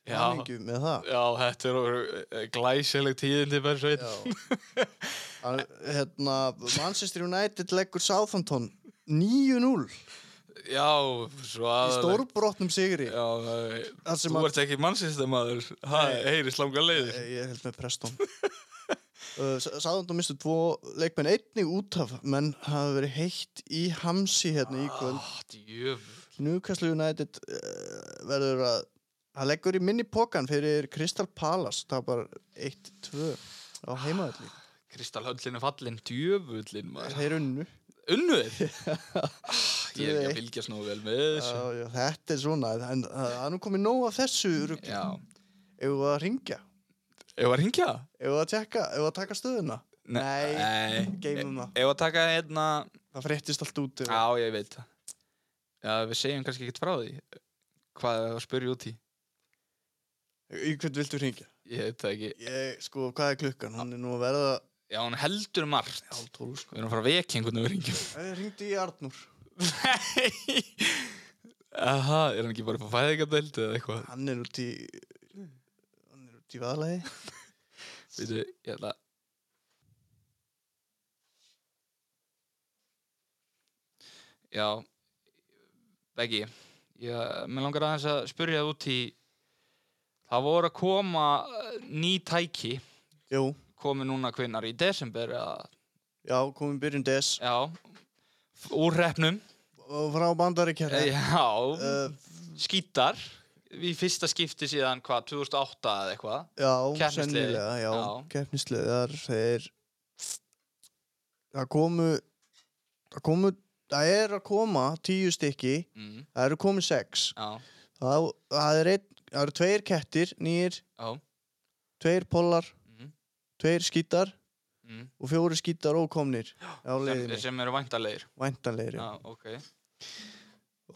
S2: Já,
S1: Hamingju með það
S2: Já, þetta eru glæsileg tíðindi bara sveit.
S1: Já. Hann- hérna, Manchester United leggur Southampton 9-0 í
S2: Já, svo að...
S1: stórbrotnum sigri
S2: Já, það-
S1: þar sem
S2: þú
S1: að
S2: ert ekki mannsýstamaður. Það
S1: Nei.
S2: heyrist langa leiðir.
S1: Ég held með Preston uh, Sáðan mistu tvo leikmenn einnig út af menn hafa verið heitt í hamsi hérna í kvöld
S2: Ah, djöfull.
S1: Newcastle United uh, verður að hann leggur í minni pokan fyrir Crystal Palace tapar 1-2 á heimaðalli
S2: Ah, Kristalhöllin er fallin, djöfullin maður.
S1: þeir unnu
S2: Unnuð? Ah, Ég er ekki
S1: Tvö eitt.
S2: að fylgjast nógu vel með
S1: já,
S2: þessu.
S1: já, þetta er svona en uh, það er nú komið nóg af þessu rugli
S2: Já.
S1: ef við að ringja
S2: Ef að ringja?
S1: ef við að tjekka ef við að taka stöðuna Nei. geymum það
S2: Ef að taka hérna...
S1: það fréttist allt út
S2: Já, ég veit það. Já, við segjum kannski ekkert frá því. Hvað er að spyrja út í?
S1: í hvern viltu ringja
S2: Ég veit það ekki.
S1: Ég, sko, hvað er klukkan? Hún er nú að verða
S2: Já, hún heldur um margt.
S1: Hálf tólf, sko
S2: Við erum að fara að vekja einhvern veginn ringjum.
S1: Ég ringdi í Arnur
S2: Nei! Aha, er hann ekki bara upp á fæðingadeld eða eitthvað?
S1: Hann er út í Hann er út í vaðlæði
S2: Veitu, ég ætla að... Já, Beggi, ég, mér langar aðeins að spyrja það út í... Það voru að koma eh, ný tæki,
S1: Jú,
S2: komi núna kvinnar í desember, eða...
S1: já, komum byrjun des
S2: Já, f- úr hreppnum,
S1: og frá bandaríkjara
S2: já,
S1: uh,
S2: skítar, í fyrsta skipti síðan, hvað, 2008 eða eitthvað?
S1: Já,
S2: Keppnisliðið.
S1: sennilega Já,
S2: Já.
S1: keppnislegar Þeir Það komu Það komu Það er að koma tíu stykki
S2: Mm,
S1: Það eru komið sex
S2: já,
S1: Það, það, er ein, það eru tveir kettir, nýr
S2: já,
S1: Tveir pollar,
S2: mm,
S1: tveir skítar
S2: mm.
S1: og fjóri skítar ókomnir á
S2: Sem,
S1: leiðinni,
S2: sem eru væntalegir
S1: væntanlegri
S2: já, okay.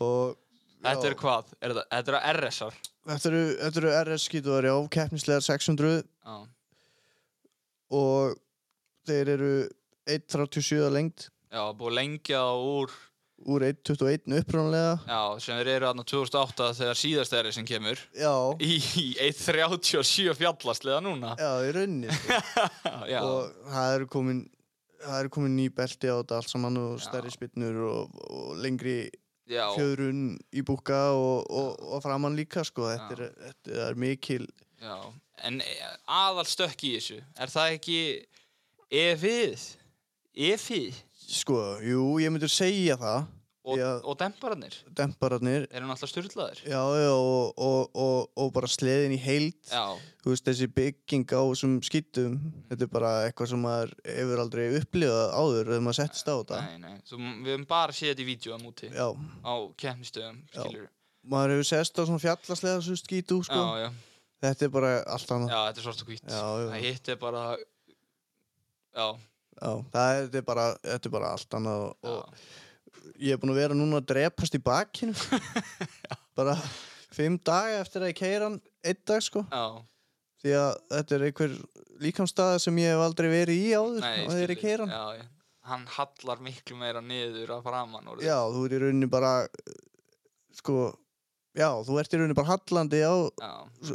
S1: og
S2: Þetta
S1: já,
S2: er hvað? Er það, þetta eru RS-ar
S1: þetta eru, þetta eru RS skítuðar já, keppnislegar 600
S2: Já,
S1: og þeir eru 1.37 að lengd
S2: já búið að lengja þá úr
S1: úr 1.21 upprónulega
S2: Já, sem þeir eru aðna 2008 þegar síðast er sem kemur
S1: já,
S2: Í, í 1.37 fjallasliða núna
S1: já, í rauninni sko.
S2: Já,
S1: og það eru komin það eru komin ný belti á þetta allt saman og
S2: Já.
S1: stærri spinnur og, og lengri
S2: já,
S1: fjöðrun í búka og, og, og framann líka sko. þetta,
S2: Já.
S1: er, þetta er mikil
S2: já En e, aðal stökk í þessu Er það ekki E EFIð? EFIð?
S1: sko, jú, ég myndur segja það
S2: Og,
S1: Já.
S2: og dempararnir?
S1: dempararnir
S2: Eru náttúrulega styrlaðir?
S1: Já, já, og, og, og, og bara sleðin í heild
S2: Já,
S1: þú veist, þessi bygging á þessum skýtum þetta er bara eitthvað sem maður hefur aldrei upplifað áður þegar maður settist á þetta
S2: nei, nei Svo m- Við höfum bara séð þetta í vídjóum úti
S1: Já,
S2: Á kemmistöðum, skilur
S1: maður hefur sest á svona fjallaslega þessu skýtu, sko
S2: Já, já
S1: þetta er bara allt annað Já,
S2: Já, þetta er svart og hvitt.
S1: Já, já.
S2: Það hitt er bara... Já,
S1: það er, þetta er bara, þetta er bara allt annað og,
S2: já.
S1: og ég er búin að vera núna að drepast í bakinu bara fimm daga eftir að ég keira hann einn dag, sko
S2: já.
S1: því að þetta er einhver líkamstaða sem ég hef aldrei verið í áður
S2: Nei,
S1: og þegar
S2: skilur.
S1: ég keira hann
S2: Já, já. Hann hallar miklu meira niður að framann. orðið.
S1: Já, þú ert í rauninni bara uh, sko, já, þú ert í rauninni bara hallandi á,
S2: já,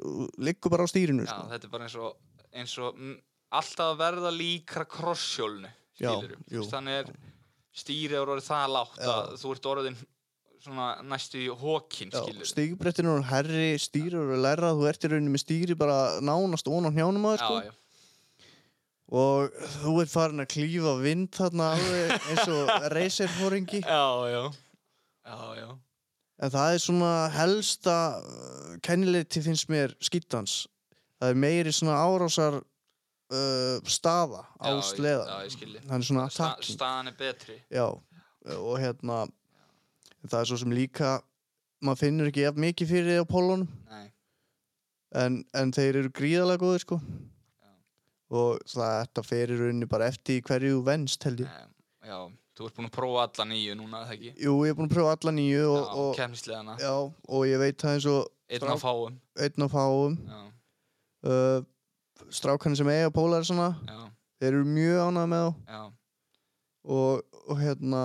S1: liggur bara á stýrinu
S2: já,
S1: sko.
S2: þetta er bara eins og, eins og mm, alltaf að verða líkra krosshjólnu
S1: Já,
S2: skilurðu. Þú
S1: jú.
S2: veist, þannig er stýrið er orðið það lágt
S1: Já.
S2: að þú ert orðin svona næstu í hókin
S1: Já,
S2: skilur
S1: stígbrettin er herri, stýrur er læra þú ert í rauninni með stýri bara nánast ón á hnjánum á þér sko.
S2: já,
S1: og þú ert farin að klífa vind þarna alveg eins og reyserfóringi
S2: já, já, já, já.
S1: En það er svona helsta kennileg til finnst mér skýttans. Það er meiri svona árásar uh, staða á
S2: Já, ég-
S1: sleða.
S2: já, ég skil þig.
S1: Hann er svona
S2: Sta,
S1: attacking.
S2: staðan er betri
S1: já, og hérna, það er svo sem líka, maður finnur ekki jafn mikið fyrir því á pólunum,
S2: Nei.
S1: en, en þeir eru gríðalega góðir sko.
S2: Já.
S1: Og það, þetta fer í rauninni bara eftir í hverju þú venst held ég.
S2: Nei, já, þú ert búin að prófa alla nýju núna, er það ekki?
S1: Jú, ég er búin að prófa alla nýju og,
S2: já,
S1: og,
S2: kemnisleðana,
S1: já, og ég veit það eins og
S2: einn af fáum.
S1: einn af fáum.
S2: Já,
S1: uh, strákan sem eiga pólar svona,
S2: já,
S1: þeir eru mjög ánægð með þá
S2: já.
S1: og, og hérna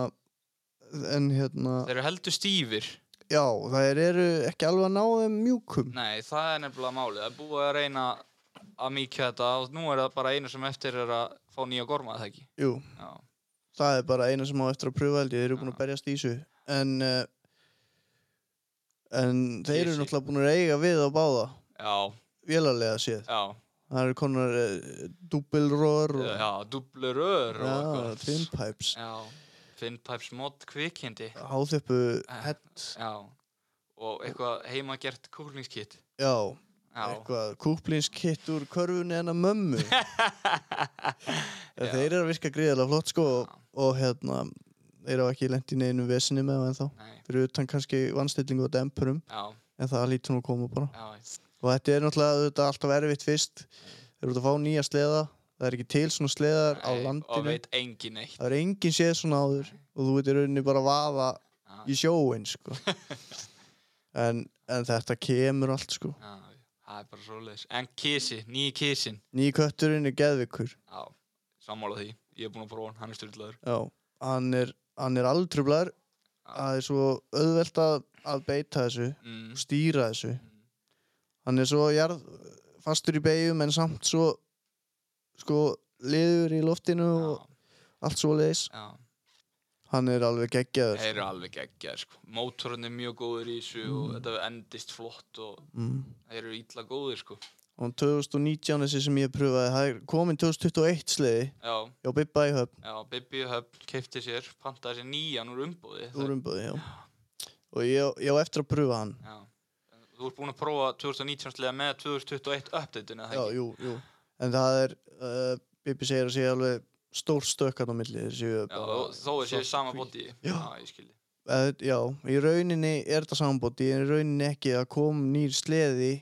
S1: en hérna,
S2: Þeir eru heldur stífir.
S1: já, þeir eru ekki alveg að ná þeim mjúkum
S2: Nei, það er nefnilega málið. Það er búið að reyna að mýkja þetta og nú er það bara einu sem eftir er að fá nýja gorma, er það ekki?
S1: Jú,
S2: Já,
S1: það er bara eina sem á eftir að pröfa held ég, þeir eru búin
S2: Já.
S1: að berjast í þessu en uh, en þeir eru
S2: Kisi.
S1: náttúrulega búin að eiga við á báða
S2: já,
S1: vélarlega séð,
S2: já,
S1: það eru konar uh, dúbilróður og
S2: já, dublu rör og
S1: já, twin pipes
S2: Já, finnpæps mod kvikindi.
S1: háþjöppu hett,
S2: Já, og eitthvað heimagert kúrlingskitt.
S1: já,
S2: Já,
S1: eitthvað kúplingskitt úr körfunni hennar mömmu En
S2: Já.
S1: þeir eru að virka gríðarlega flott sko og,
S2: Já.
S1: og hérna, þeir eru ekki lent í neinu vesinni með það ennþá.
S2: nei,
S1: Fyrir utan kannski vannstillingu og dempurum,
S2: já,
S1: en það lítur nú að koma bara.
S2: já, já.
S1: Og þetta er náttúrulega auðvitað alltaf erfitt fyrst. Þeir eru út að fá nýja sleða, það er ekki til svona sleðar á
S2: Nei, og
S1: landinu.
S2: veit engin neitt
S1: Það er enginn séð svona áður og þú veit í rauninni bara að vaða
S2: Já,
S1: í sjóin sko. en, en þetta kemur allt sko.
S2: já, það er bara svoleiðis en kísi, nýji kísin
S1: Nýji kötturinn er geðvikur.
S2: já, sammála því, ég er búinn að prófa hann hann er styrlaður
S1: Já, hann er, hann er aldrublar. Það er svo auðvelt að, að beita þessu.
S2: mm,
S1: og stýra þessu hann er svo jarð, fastur í beigjum en samt svo sko liður í loftinu
S2: já,
S1: og allt svo leis
S2: já,
S1: hann er alveg geggjaður sko.
S2: þeir eru alveg geggjaðir sko. mótorinn er mjög góður í þessu og þetta endist flott og
S1: mm.
S2: þeir eru illa góðir sko.
S1: og 2019 þessi sem ég pröfaði það er komin 2021 sliði
S2: já,
S1: hjá Bibba í höfn
S2: já, Bibi Höfn keipti sér, pantaði sér nýjan úr umbúði það-
S1: úr um- umbúði já og ég, ég á eftir að pröfa hann
S2: já. þú ert búinn að prófa 2019 slega með 2021 update-una
S1: já, jú, jú en það er uh, Bibbi segir að sé alveg stór stökkan á milli þeir séu
S2: Já,
S1: bara-
S2: þó þó er sér
S1: svart
S2: sama
S1: og hvít.
S2: bóti
S1: Já.
S2: ég skildi
S1: að, já, í rauninni er þetta sambóti en í rauninni ekki að kom nýr sleði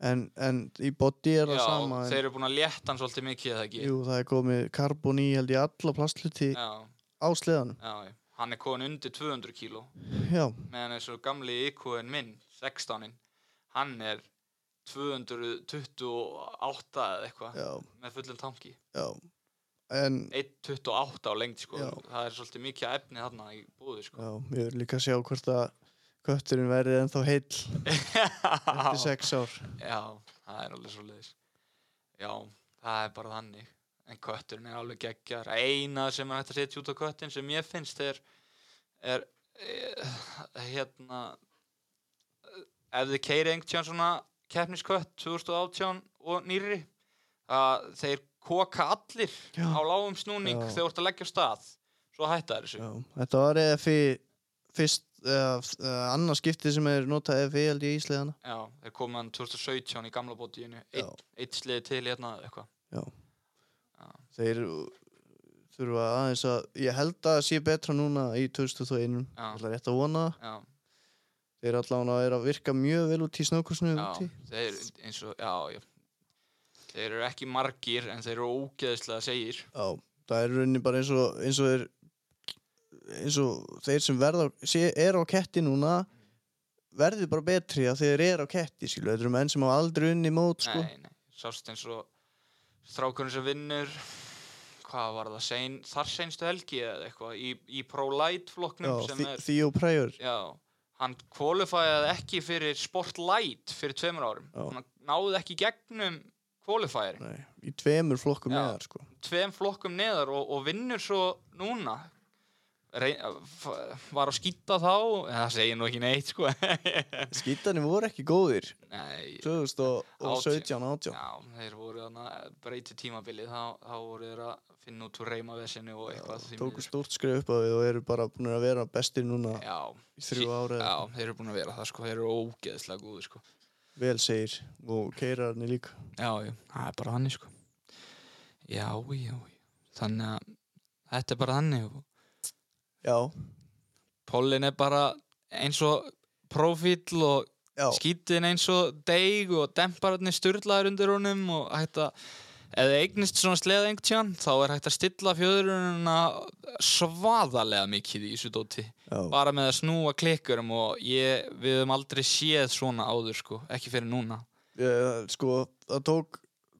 S1: en, en í bóti er það
S2: Já,
S1: sama en,
S2: þeir eru búin að létta hann svolítið mikið eða ekki
S1: jú, það er komið karbon í held í alla plastluti
S2: Já,
S1: á sleðanum
S2: já, já. hann er komin undir 200 kíló
S1: já,
S2: meðan eins og gamli IQ-in minn, 16-in hann er 228 eða eitthvað
S1: já,
S2: með fullum tanki
S1: já en
S2: 128 á lengd sko
S1: Já.
S2: það er svolítið mikið af efni þarna í búðu sko
S1: já, ég vil líka sjá hvort að kötturinn verið ennþá heill eftir
S2: Já,
S1: sex ár
S2: það er alveg svolítið Já, það er bara þannig en kötturinn er alveg geggjar eina sem er hægt að setja út á köttin sem ég finnst er er eh, hérna eh, ef þið keiri einhvern svona keppniskött 2018 og nýri að þeir koka allir
S1: Já.
S2: á lágum snúning
S1: Já.
S2: þegar þú ert að leggja af stað svo hætta þeir þessu
S1: já, þetta var eða fyrir fyrst, uh, uh, annars skipti sem er notað eða fyrir held ég í sleðana
S2: Já, þeir komu hann 2017 í gamla bótiðinu
S1: Já.
S2: eitt, eitt sliði til hérna eitthvað
S1: þeir þurfa aðeins að ég held að það sé betra núna í 2021
S2: Já.
S1: Það er rétt að vona það.
S2: Já,
S1: þeir allan að er að virka mjög vel út í snökursnu
S2: já, þeir eins og, já, já Þeir eru ekki margir en þeir eru ógeðslega segir
S1: já, það er í rauninni bara eins og eins og, þeir, eins og þeir sem verða, sé, er á ketti núna verði bara betri að þeir eru á ketti skilu, þetta eru menn sem á aldrei unni mót sko.
S2: Nei, nei, sást eins og strákurinn sem vinnur hvað var það, sein, þar seinstu helgi eða eitthvað í, í pro-light
S1: já,
S2: flokknum sem
S1: Þi-
S2: er
S1: Theo Pryor
S2: Já, hann kvalifæði ekki fyrir Sportlight fyrir tveimur árum
S1: Já.
S2: hann náði ekki í gegnum kvalifæri
S1: Nei, í tveimur flokkum
S2: Já.
S1: neðar sko.
S2: tveim flokkum neðar og, og vinnur svo núna Reyn, f- var að skýta þá en það segir nú ekki neitt sko
S1: Skítanir voru ekki góðir
S2: Nei,
S1: 2017 18
S2: já, þeir voru þarna breyti tímabilið þá, þá voru þeir að finna út úr reymavesinu og eitthvað því
S1: Tóku
S2: miður.
S1: stórt skrif upp á við og eru bara búin að vera bestir núna
S2: já,
S1: í þrjú ára
S2: já, þeir eru búin að vera það sko þeir eru ógeðslega góði sko
S1: vel segir og keirarnir líka
S2: já, já, það er bara þannig sko já, já, já þannig að þetta er bara þannig og
S1: Já,
S2: pollin er bara eins og profíl og
S1: já,
S2: skítin eins og deig og dempararnir sturlaður undir honum og hægt að eða eignist svona sleða einhvern tíðan þá er hægt að stilla fjöðurununa svaðalega mikið í þessu dóti
S1: já,
S2: bara með að snúa klikkurum og ég, við höfum aldrei séð svona áður sko, ekki fyrir núna
S1: Eh, sko það tók,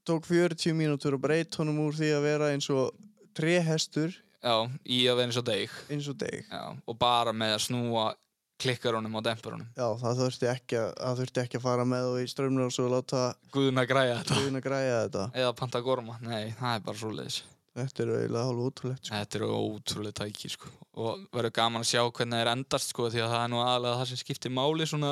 S1: tók 40 mínútur að breyta honum úr því að vera eins og trehestur
S2: já, í að vera eins og deig
S1: eins og deg
S2: já, og bara með að snúa klikkurunum og demparunum
S1: Já, það þurfti ekki að, það þurfti ekki að fara með og í strömmur og svo láta
S2: Guðun að græja þetta
S1: hún að græja þetta
S2: eða Pantagorma, nei, það er bara svoleiðis
S1: Þetta er eiginlega hálf útrúlegt sko.
S2: Þetta eru ótrúlega tæki sko. og verður gaman að sjá hvernig þeir endast sko, því að það er nú aðalega það sem skiptir máli svona,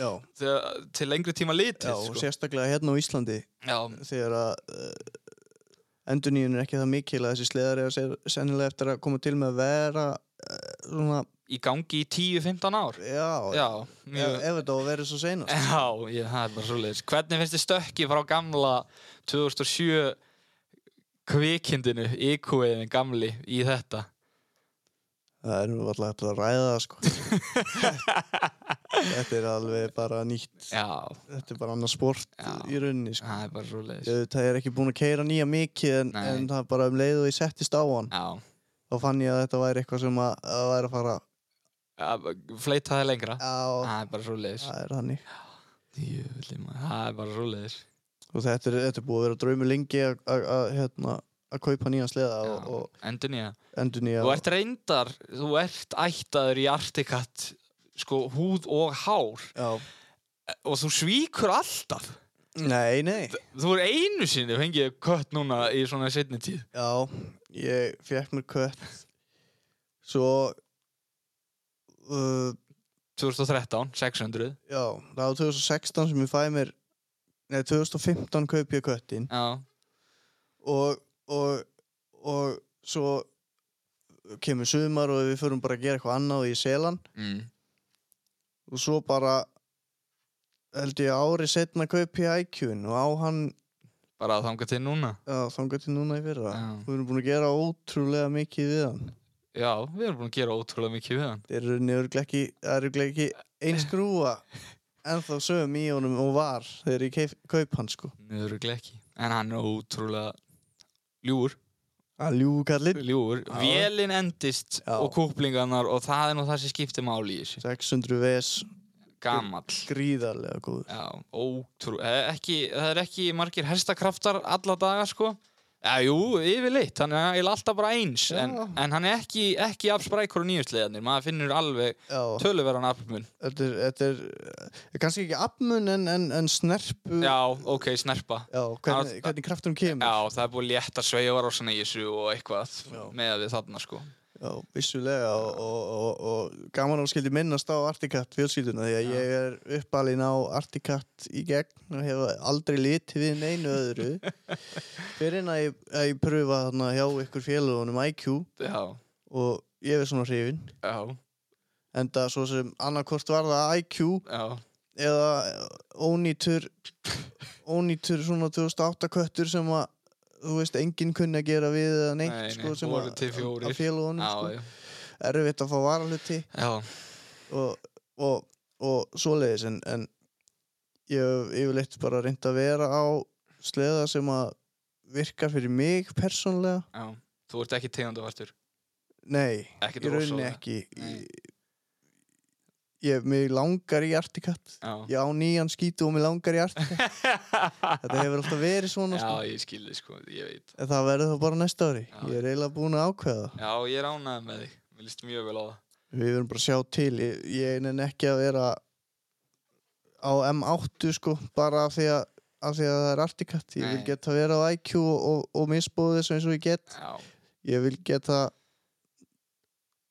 S1: Já,
S2: þegar, til lengri tíma
S1: já
S2: litið
S1: og
S2: sko.
S1: sérstaklega hérna á Íslandi
S2: já,
S1: þegar að uh, endurnýjun er ekki það mikil að þessi sleðar er sennilega eftir að koma til með að vera uh, svona,
S2: í gangi í 10-15 ár
S1: já,
S2: já,
S1: ef,
S2: mjög,
S1: ef þetta á að vera svo seinast
S2: já ég, það er bara svoleiðis hvernig finnst þið stökki frá gamla 2007 kvikindinu, IQ-in gamli í þetta
S1: Það er nú alltaf eftir að ræða það sko Þetta er alveg bara nýtt
S2: já,
S1: Þetta er bara annað sport
S2: Já.
S1: í rauninni sko.
S2: það er bara svoleiðis
S1: Ég, Það er ekki búin að keira nýja mikið en,
S2: Nei.
S1: en það er bara um leið og ég settist á hann
S2: já,
S1: þá fann ég að þetta væri eitthvað sem að, að væri að fara
S2: Já, fleita það
S1: á,
S2: lengra Ah, það er bara svoleiðis
S1: það er hannig
S2: Jöfnli maður, það er bara svoleiðis
S1: og þetta er, þetta er búið að vera draumi lengi að- að að, hérna, að kaupa nýjan sleða og, og
S2: endur nýja
S1: endur nýja
S2: Þú ert reyndar, þú ert ættaður í Articat sko húð og hár
S1: Já.
S2: og þú svíkur alltaf
S1: Nei, nei
S2: Þú er einu sinni fengið kött núna í svona setni tíð
S1: Já, ég fekk mér kött svo uh,
S2: 2013, 600
S1: já, það var 2016 sem ég fæði mér nei, 2015 kaup ég köttin
S2: Já,
S1: og, og, og svo kemur sumar og við förum bara að gera eitthvað annað og ég sel hann
S2: mm.
S1: og svo bara held ég ári setna kaup ég IQ-un og á hann
S2: bara að þanga til núna
S1: já, þangað til núna í fyrra
S2: Já.
S1: við erum búin að gera ótrúlega mikið við hann
S2: Já, við erum búin að gera ótrúlega mikið við hann
S1: þeir eru nefnilega ekki, það eru örugglega ekki eins grúa ennþá sögum í honum og var þegar ég keif, kaup hann sko
S2: Nöður ekki En hann er ótrúlega ljúur
S1: að ljúkallinn
S2: Ljúur,
S1: Já.
S2: vélinn endist
S1: Já.
S2: og kúplingarnar og það er nú það sem skiptir máli í þessu
S1: 600 VS
S2: Gamall
S1: gríðarlega góður
S2: Já, ótrú, eh, ekki, það er ekki margir hestakraftar alla daga sko Já, jú, yfirleitt, hann er eiginlega alltaf bara eins
S1: Já.
S2: en, en hann er ekki, ekki afsprækur og nýjusleðanir, maður finnur alveg
S1: já,
S2: töluverðan afmun
S1: þetta er, þetta er eh, kannski ekki apmun en, en, en snerpu
S2: Já, ok, snerpa
S1: Já, hvernig,
S2: Já,
S1: hvernig kraftunum kemur
S2: Já, það er búið létt að sveiga var á svona í þessu og eitthvað
S1: Já.
S2: með að við þarna sko
S1: Já, vissulega og, og, og, og gaman að skildi minnast á Articat fjölskylduna því að
S2: Já.
S1: ég er uppalinn á Articat í gegn og hef aldrei litið við neinu öðru fyrir en að ég, að ég pröfa þarna hjá ykkur félagunum IQ
S2: Já,
S1: og ég er svona hrifin
S2: já,
S1: en það svo sem annarkort var það IQ
S2: já
S1: eða eh, ónýtur ónýtur svona 2008 köttur sem að þú veist, enginn kunni að gera við eða neitt
S2: Nei, nei,
S1: sko, sem
S2: voru til fjórir.
S1: að félagunum
S2: Já,
S1: sko,
S2: já,
S1: erfitt að fá varaluti
S2: já,
S1: og, og, og svoleiðis en, en ég hef yfirleitt bara reynd að vera á sleða sem að virkar fyrir mig persónlega
S2: já. Þú ert ekki tegundavartur
S1: nei,
S2: Ekkert
S1: í rauninni
S2: rosalega.
S1: ekki
S2: Nei.
S1: ég, ég, mig langar í artikatt
S2: Já,
S1: ég á nýjan skítu og mig langar í artikatt þetta hefur alltaf verið svona
S2: já
S1: sko.
S2: ég skilði sko, ég veit
S1: en það verður þá bara næsta ári
S2: Já.
S1: ég er eiginlega búin að ákveða það.
S2: Já, ég er ánægð með þig, mér líst mjög vel á það
S1: við verum bara að sjá til ég, ég nenni ekki að vera á M8 sko bara af því að, af því að það er artikatt ég vil
S2: Nei.
S1: geta vera á IQ og, og, og misbúið þessu eins og ég get
S2: Já,
S1: ég vil geta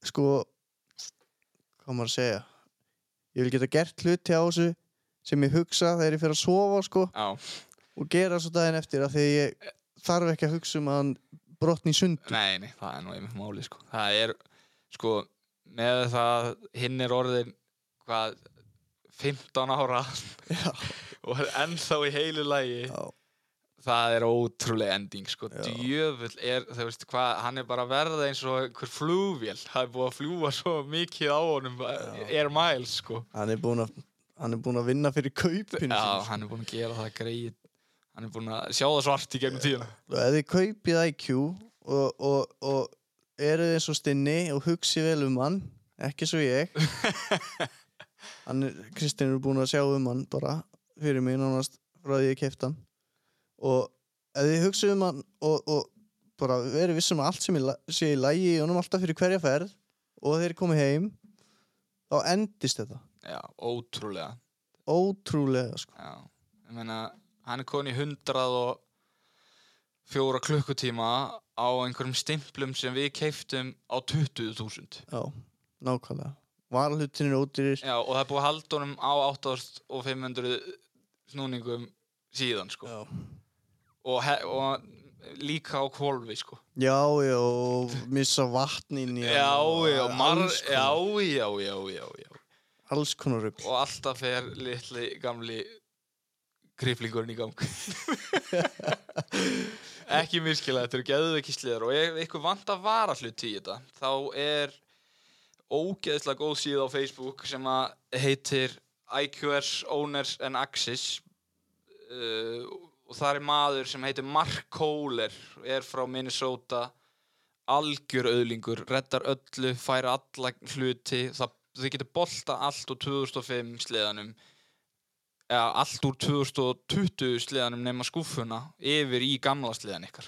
S1: sko hvað á maður að segja ég vil geta gert hluti á þessu sem ég hugsa þegar ég fer að sofa sko
S2: já,
S1: og gera svo daginn eftir af því að ég þarf ekki að hugsa um að hann brotni í sundur
S2: nei, nei, það er nú einmitt máli sko. það er, sko með það, hinn er orðin hvað, 15 ára
S1: Já.
S2: og er ennþá í heilu lagi
S1: Já.
S2: það er ótrúlega ending sko,
S1: Já.
S2: djöfull er þú veist hvað, hann er bara að verða eins og hver flugvél, það er búið að fljúa svo mikið á honum, er miles sko
S1: hann er búinn að hann er búinn að vinna fyrir kaupinu
S2: Já,
S1: sínu, sko.
S2: hann er búin að gera það greið Hann er búin að sjá það svart í gegnum tíðina
S1: og ef þið kaupið IQ og, og, og eruð eins og stinni og hugsið vel um hann ekki svo ég hann er, Kristinn er búinn að sjá um hann bara fyrir mig nánast frá því ég keipt hann og ef þið hugsið um hann og, og bara verið vissum að allt sem ég sé í lægi og honum alltaf fyrir hverja ferð og þeir komið heim þá endist þetta
S2: Já, ótrúlega
S1: ótrúlega sko
S2: Já, ég meina Hann er konið í hundrað og fjóra klukkutíma á einhverjum stimplum sem við keiftum á 20.000
S1: já, nákvæmlega varlutin er ódýrir
S2: Já, og það er búið að halda honum á 8500 snúningum síðan, sko
S1: já.
S2: og, he- og líka á kvolfi, sko
S1: Já, já, og missa vatnin
S2: Já, já, mar,
S1: alls
S2: já,
S1: konar,
S2: já, já, já, já
S1: alls konar rugl
S2: og alltaf fer litli gamli kriflingurinn í gang ekki miskilega, þetta eru geðveikisliðar og ef ykkur vant að vara hluti í þetta þá er ógeðslega góð síða á Facebook sem að heitir IQS Owners and Axis uh, og það er maður sem heitir Mark Kohler er frá Minnesota algjör öðlingur, reddar öllu, fær alla hluti, það, þið getur bolta allt úr 2005 sleðanum eða allt úr 2020 sleðanum nema skúfuna yfir í gamla sleðan ykkar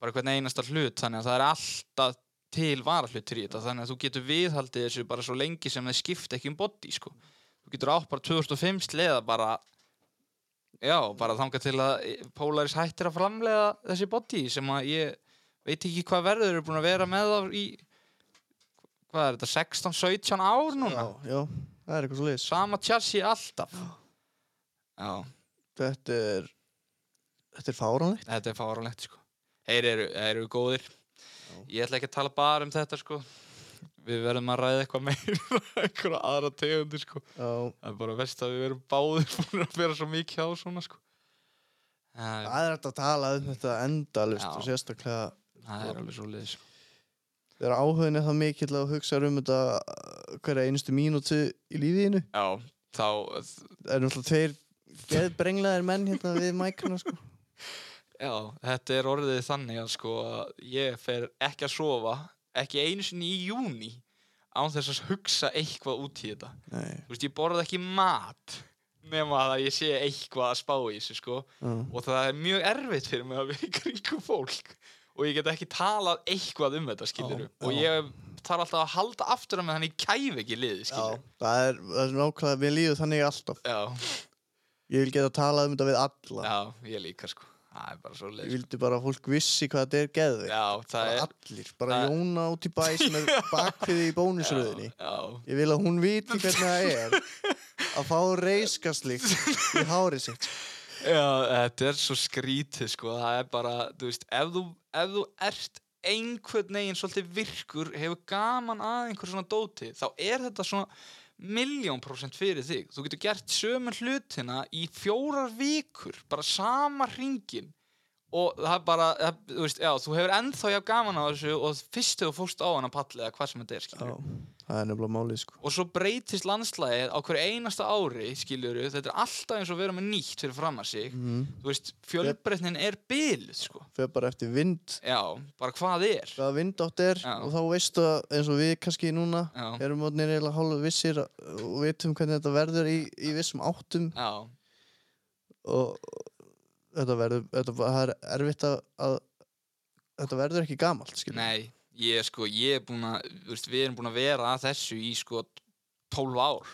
S2: bara hvern einasta hlut, þannig að það er alltaf til varahlutur í þetta, þannig að þú getur viðhaldið þessu bara svo lengi sem það skipta ekki um body, sko þú getur átt bara 2005 sleða bara já, bara þangað til að Polaris hættir að framlega þessi body sem að ég veit ekki hvað verður eru búin að vera með þá í hvað er þetta, 16, 17 ár núna
S1: Já, já, það er eitthvað svo leys
S2: sama chassi alltaf já,
S1: Þetta er, þetta er fáránlegt
S2: þetta er fáránlegt sko þeir eru, þeir eru góðir ég ætla ekki að tala bara um þetta sko við verðum að ræða eitthvað meira einhverja aðra tegundir sko
S1: Já,
S2: það er bara vest að við verum báðir búin að vera svo mikið á svona sko það,
S1: það er hægt að tala um þetta endalust
S2: Já.
S1: og sérstaklega
S2: það er alveg svo liðis sko.
S1: þegar áhugin er það mikill að hugsa um þetta uh, hverja einustu mínútu í lífiðinu
S2: já, þá,
S1: Það er náttúrulega tveir geðbrenglaðir menn hérna við mækana sko
S2: Já, þetta er orðið þannig að sko að ég fer ekki að sofa ekki einu sinni í júni án þess að hugsa eitthvað út í þetta
S1: Nei,
S2: Þú veist, ég borða ekki mat nema að ég sé eitthvað að spá í þessu sko
S1: já,
S2: og það er mjög erfitt fyrir mig að vera í kringum fólk og ég get ekki talað eitthvað um þetta skilur
S1: Já,
S2: og
S1: já.
S2: ég þarf alltaf að halda aftur að með þannig kæfi ekki liði
S1: já.
S2: skilur
S1: Það er, það er nákvæmlega, mér líður þannig alltaf
S2: já,
S1: Ég vil geta talað um þetta við alla
S2: já ég líka sko það er bara svo
S1: Ég
S2: leið sko.
S1: vildi bara að fólk vissi hvað þetta er geðveikt.
S2: Já, það
S1: Bara
S2: er
S1: allir, bara
S2: það-
S1: Jóna út í bæ sem er bakfiði í bónusröðinni.
S2: Já, já,
S1: Ég vil að hún viti hvernig það er að fá reiskaslikt í hárið sitt. sko.
S2: Já, þetta er svo skrítið sko, það er bara, þú veist, ef þú, ef þú ert einhvern veginn svolítið virkur, hefur gaman að einhver svona dóti, þá er þetta svona miljón prósent fyrir þig. Þú getur gert sömu hlutina í fjórar vikur, bara sama hringin og það er bara, það, þú veist, já, þú hefur ennþá já gaman á þessu og fyrst þegar þú fórst á hana pallið eða hvað sem þetta er, skilur
S1: Já, það er nefnilega málið sko.
S2: og svo breytist landslæðið á hverju einasta ári skiljuru, þetta er alltaf eins og vera með nýtt fyrir fram að sig
S1: Mm.
S2: þú veist, fjölbreytnin er byluð sko.
S1: Fyrir bara eftir vind,
S2: já, bara hvað er
S1: hvaða vind átt er
S2: Já.
S1: og þá veistu að eins og við kannski núna
S2: já,
S1: erum mótnir eiginlega hálfa vissir og vitum hvernig þetta verður í, í vissum áttum
S2: já,
S1: og þetta verður, þetta, það er erfitt að, að þetta verður ekki gamalt skilur.
S2: nei ég sko, ég er búin að þú veist, við erum búin að vera að þessu í sko 12 ár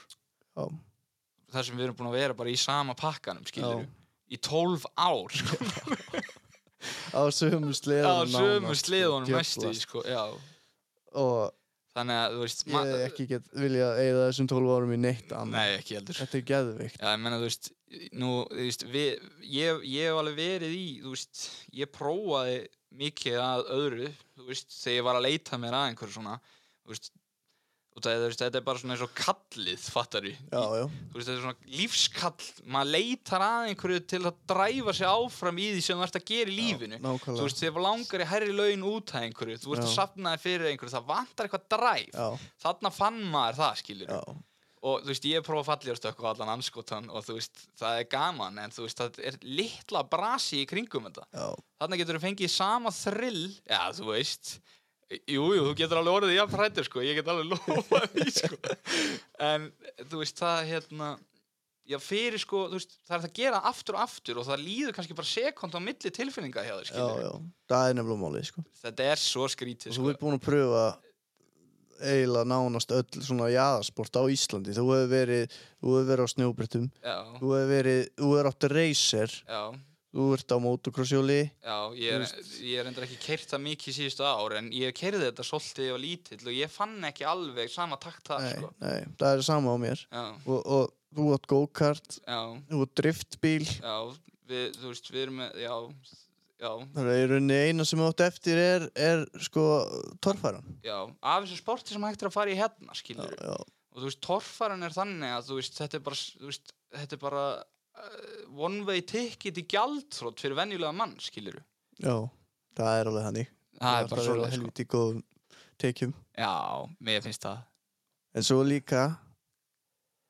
S1: Já.
S2: þar sem við erum búin að vera bara í sama pakkanum skilur
S1: Já.
S2: í 12 ár sko,
S1: á sömu
S2: á
S1: sleðunum
S2: sömu
S1: nánast, sko,
S2: sleðunum næstu
S1: djöflast.
S2: sko, já
S1: og
S2: þannig að þú veist
S1: ég hef ekki get viljað eigða þessum 12 árum í neitt annað
S2: nei ekki heldur
S1: þetta er geðvikt
S2: Já, ég menna, þú veist, nú, þú veist, við, ég, ég hef alveg verið í, þú veist, ég prófaði mikið að öðru, þú veist, þegar ég var að leita mér að einhverju svona, þú veist, og það, þú veist, þetta er bara svona eins og kallið, fattar við,
S1: já, já,
S2: þú veist, þetta er svona lífskall, maður leitar að einhverju til að dræfa sig áfram í því sem þú ert að gera í lífinu,
S1: já, nákvæmlega
S2: þú veist, þegar langar í hærri laun út að einhverju, þú veist,
S1: Já.
S2: að safna þér fyrir einhverju, það vantar eitthvað dræf,
S1: já,
S2: þarna fann maður það, skilur
S1: já,
S2: og þú veist, ég hef prófað falljórstökk og allan anskotan og þú veist, það er gaman en þú veist, það er litla brasi í kringum þetta.
S1: já,
S2: Þannig getur þú fengið sama þrill, já, þú veist Jú, jú, þú getur alveg orðið jafn hrættur, sko, ég get alveg lofað því, sko en þú veist, það hérna já, fyrir, sko, þú veist, það er hægt að gera það aftur og aftur og það líður kannski bara sekund á milli tilfinninga hjá þér,
S1: já,
S2: skilur
S1: já það er nefnilega málið sko.
S2: þetta er svo skrítið,
S1: og
S2: sko
S1: þú ert búin að pröfa eiginlega nánast öll svona jaðarsport á Íslandi þú hefur verið, þú hefur verið á snjóbrettum
S2: já,
S1: þú hefur verið, þú hefur átt racer
S2: já
S1: þú ert á motocrossjóli
S2: Já, ég er,
S1: Þú
S2: ég er endur ekki keirt það mikið síðustu ár en ég keirði þetta svolítið þegar ég var lítill og ég fann ekki alveg sama takt það,
S1: nei,
S2: sko.
S1: nei, það er sama á mér
S2: Já,
S1: og, og þú átt go-kart
S2: já,
S1: þú átt driftbíl
S2: já, við, þú veist, við erum með, já, já,
S1: það er í rauninni eina sem þú átt eftir er, er sko torfæran
S2: já, af þessu sporti sem hægt er að fara í hérna,
S1: já,
S2: skilur
S1: já,
S2: Og þú veist, torfaran er þannig að, þú veist, þetta er bara, s- þú veist, þetta er bara uh, one way ticket í gjaldþrótt fyrir venjulega mann, skilur
S1: já, það er alveg hannig
S2: Það er bara svolítið, sko.
S1: helviti góðum tekjum
S2: Já, mér finnst það.
S1: en svo líka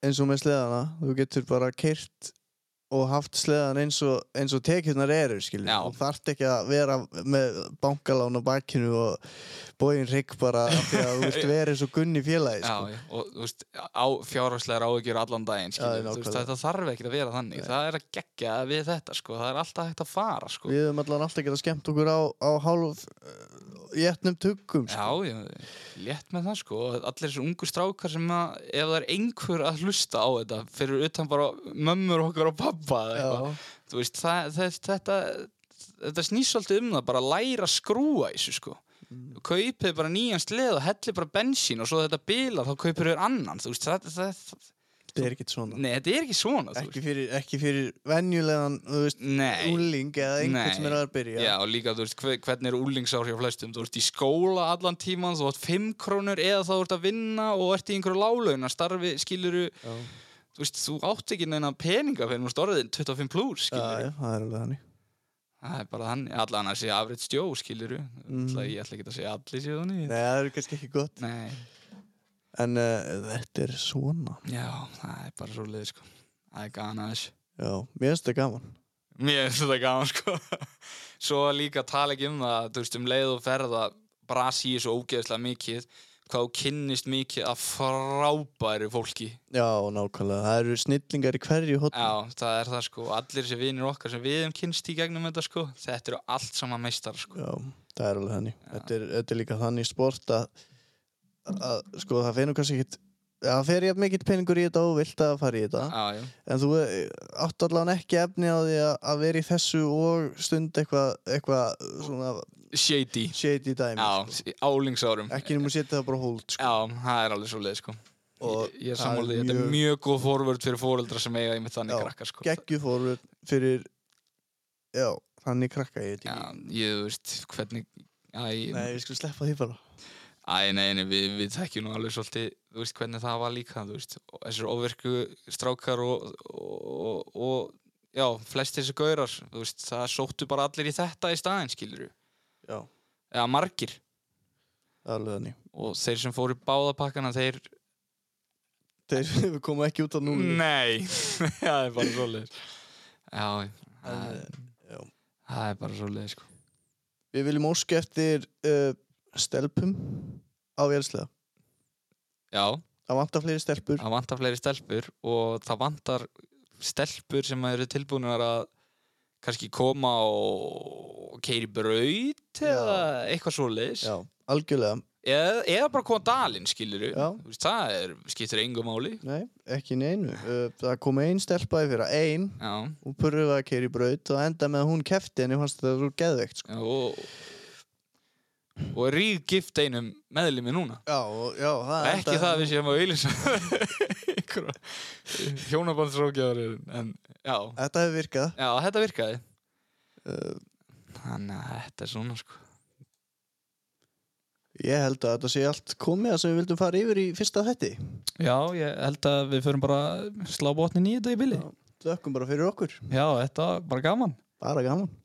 S1: eins og með sleðana þú getur bara kyrt og haft sleðan eins og, eins og tekjurnar eru skilur
S2: Já.
S1: þú þarft ekki að vera með bankalán á bakkinu og bóin rigg bara af því að þú vilt vera eins og gunni félagi sko.
S2: Já, já, og þú veist, á fjárhagslegar áhyggjur allan daginn, skilur, þú veist,
S1: nákvæmlega.
S2: þetta þarf ekkert að vera þannig,
S1: Nei.
S2: það er að gegja við þetta, sko, það er alltaf hægt að fara, sko.
S1: við höfum allan alltaf getað skemmt okkur á, á hálf uh, jætnum tuggum
S2: Já,
S1: sko.
S2: já, létt með það, sko, og allir þessu ungu strákar sem að, ef það er einhver að hlusta á þetta, fyrir utan bara mömmur okkar og pappa, eða eitthvað, þú veist, það, það, þetta, þetta snýst svolítið um það, bara að læra að skrúa í þessu, sko.
S1: Mm.
S2: kaupið bara nýjan sleð og hellið bara bensín og svo þetta bilar, þá kaupir þau annan, þú veist, það, það, það,
S1: það er ekkert svona
S2: nei, þetta er ekki svona, þú
S1: ekki fyrir, ekki fyrir venjulegan þú veist,
S2: Nei,
S1: úling eða einhvern
S2: Nei.
S1: sem er að byrja
S2: já, og líka, þú veist, hve- hvernig er úlingsár hjá flestum, þú ert í skóla allan tíman, þú ert 5 krónur eða þá ert að vinna og ert í einhverju lálauna, starfi, skiluru,
S1: Já.
S2: þú veist, þú átt ekki neina peninga fyrir núst orðin 25 plus,
S1: Já,
S2: skiluru.
S1: já, það er alveg hannig
S2: Það er bara hann, allan að segja afrið stjó, skiluru.
S1: Mhm.
S2: Mm. Ég ætla ekki að segja allir séu þannig.
S1: Nei, það er kannski ekki gott
S2: Nei,
S1: En uh, þetta er svona
S2: já, það er bara svo leið, sko. Það er gana þessu.
S1: Já, mér finnst þetta gaman
S2: Mér finnst þetta gaman sko Svo líka tala ekki um það þú veist um leið og ferða Brasi er svo ógeðslega mikið hvað þú kynnist mikið af frábæru fólki
S1: Já, nákvæmlega, það eru snillingar í hverju hotn
S2: Já, það er það sko, allir þessi vinir okkar sem við hefum kynnst í gegnum þetta sko þetta eru allt saman meistar sko
S1: það er alveg þannig þetta er, þetta er líka þannig sport að, að sko, það finnur kannski ekkit Það fer jafn mikill peningur í þetta og þú vilt að fara í þetta
S2: Já, já,
S1: En þú eh, átt allan ekki efni á því að, að vera í þessu og stund eitthvað eitthva svona
S2: shady
S1: shady dæmi
S2: Já,
S1: sko.
S2: í álingsárum
S1: Ekki nema að setja það bara á hold sko.
S2: Já, það er alveg svo leið sko
S1: Og
S2: Ég,
S1: það
S2: ég
S1: er
S2: sammála því, þetta
S1: mjög-
S2: er mjög góð forvörd fyrir fóreldra sem eiga einmitt þannig
S1: Já,
S2: krakka sko
S1: geggjufórur fyrir já, þannig krakka ég veit
S2: Já,
S1: ekki
S2: ég þú veist hvernig Æ,
S1: nei, við skulum sleppa því bara
S2: Æ, nei, nei, við, við þekkjum nú alveg svolítið, þú veist, hvernig það var líka, þú veist, og þessir ofverku strákar og, og, og, og já, flestir þessi gaurar, þú veist, það sóttu bara allir í þetta í staðinn, skilur
S1: já,
S2: eða margir,
S1: það er alveg þannig
S2: og þeir sem fóru í báðapakkana, þeir, Mm.
S1: þeir við komum ekki út á núni
S2: nei, það er bara svolítið, já, það er-
S1: En, já.
S2: það er bara svolítið, sko,
S1: við viljum óska eftir uh, stelpum á vélslega
S2: já,
S1: það vantar fleiri stelpur
S2: það vantar fleiri stelpur og það vantar stelpur sem eru tilbúinar að kannski koma og keiri braut eða eitthvað svoleiðis
S1: já, algjörlega
S2: eða, eða bara koma dalinn skilur
S1: Já.
S2: veist, það er, skiptir engu máli
S1: Nei, ekki í neinu Uh, Það kom ein stelpaði fyrir ein
S2: já,
S1: Hún purruði að keira í braut og enda með að hún kefti henni fannst þetta svo geðveikt sko.
S2: já og og er ríðgift einum meðlimi núna
S1: Já, og- já, það
S2: ekki það að við séum að auðlýsa einhverja hjónabandsrókjáður en já,
S1: Þetta hefur virkað
S2: já, þetta virkaði
S1: uh,
S2: þannig að þetta er svona sko
S1: Ég held að þetta sé allt komið að sem við vildum fara yfir í fyrsta þetti
S2: já, ég held að við förum bara slá botnin í þetta í bili
S1: Þökkum bara fyrir okkur,
S2: já, þetta var bara gaman
S1: bara gaman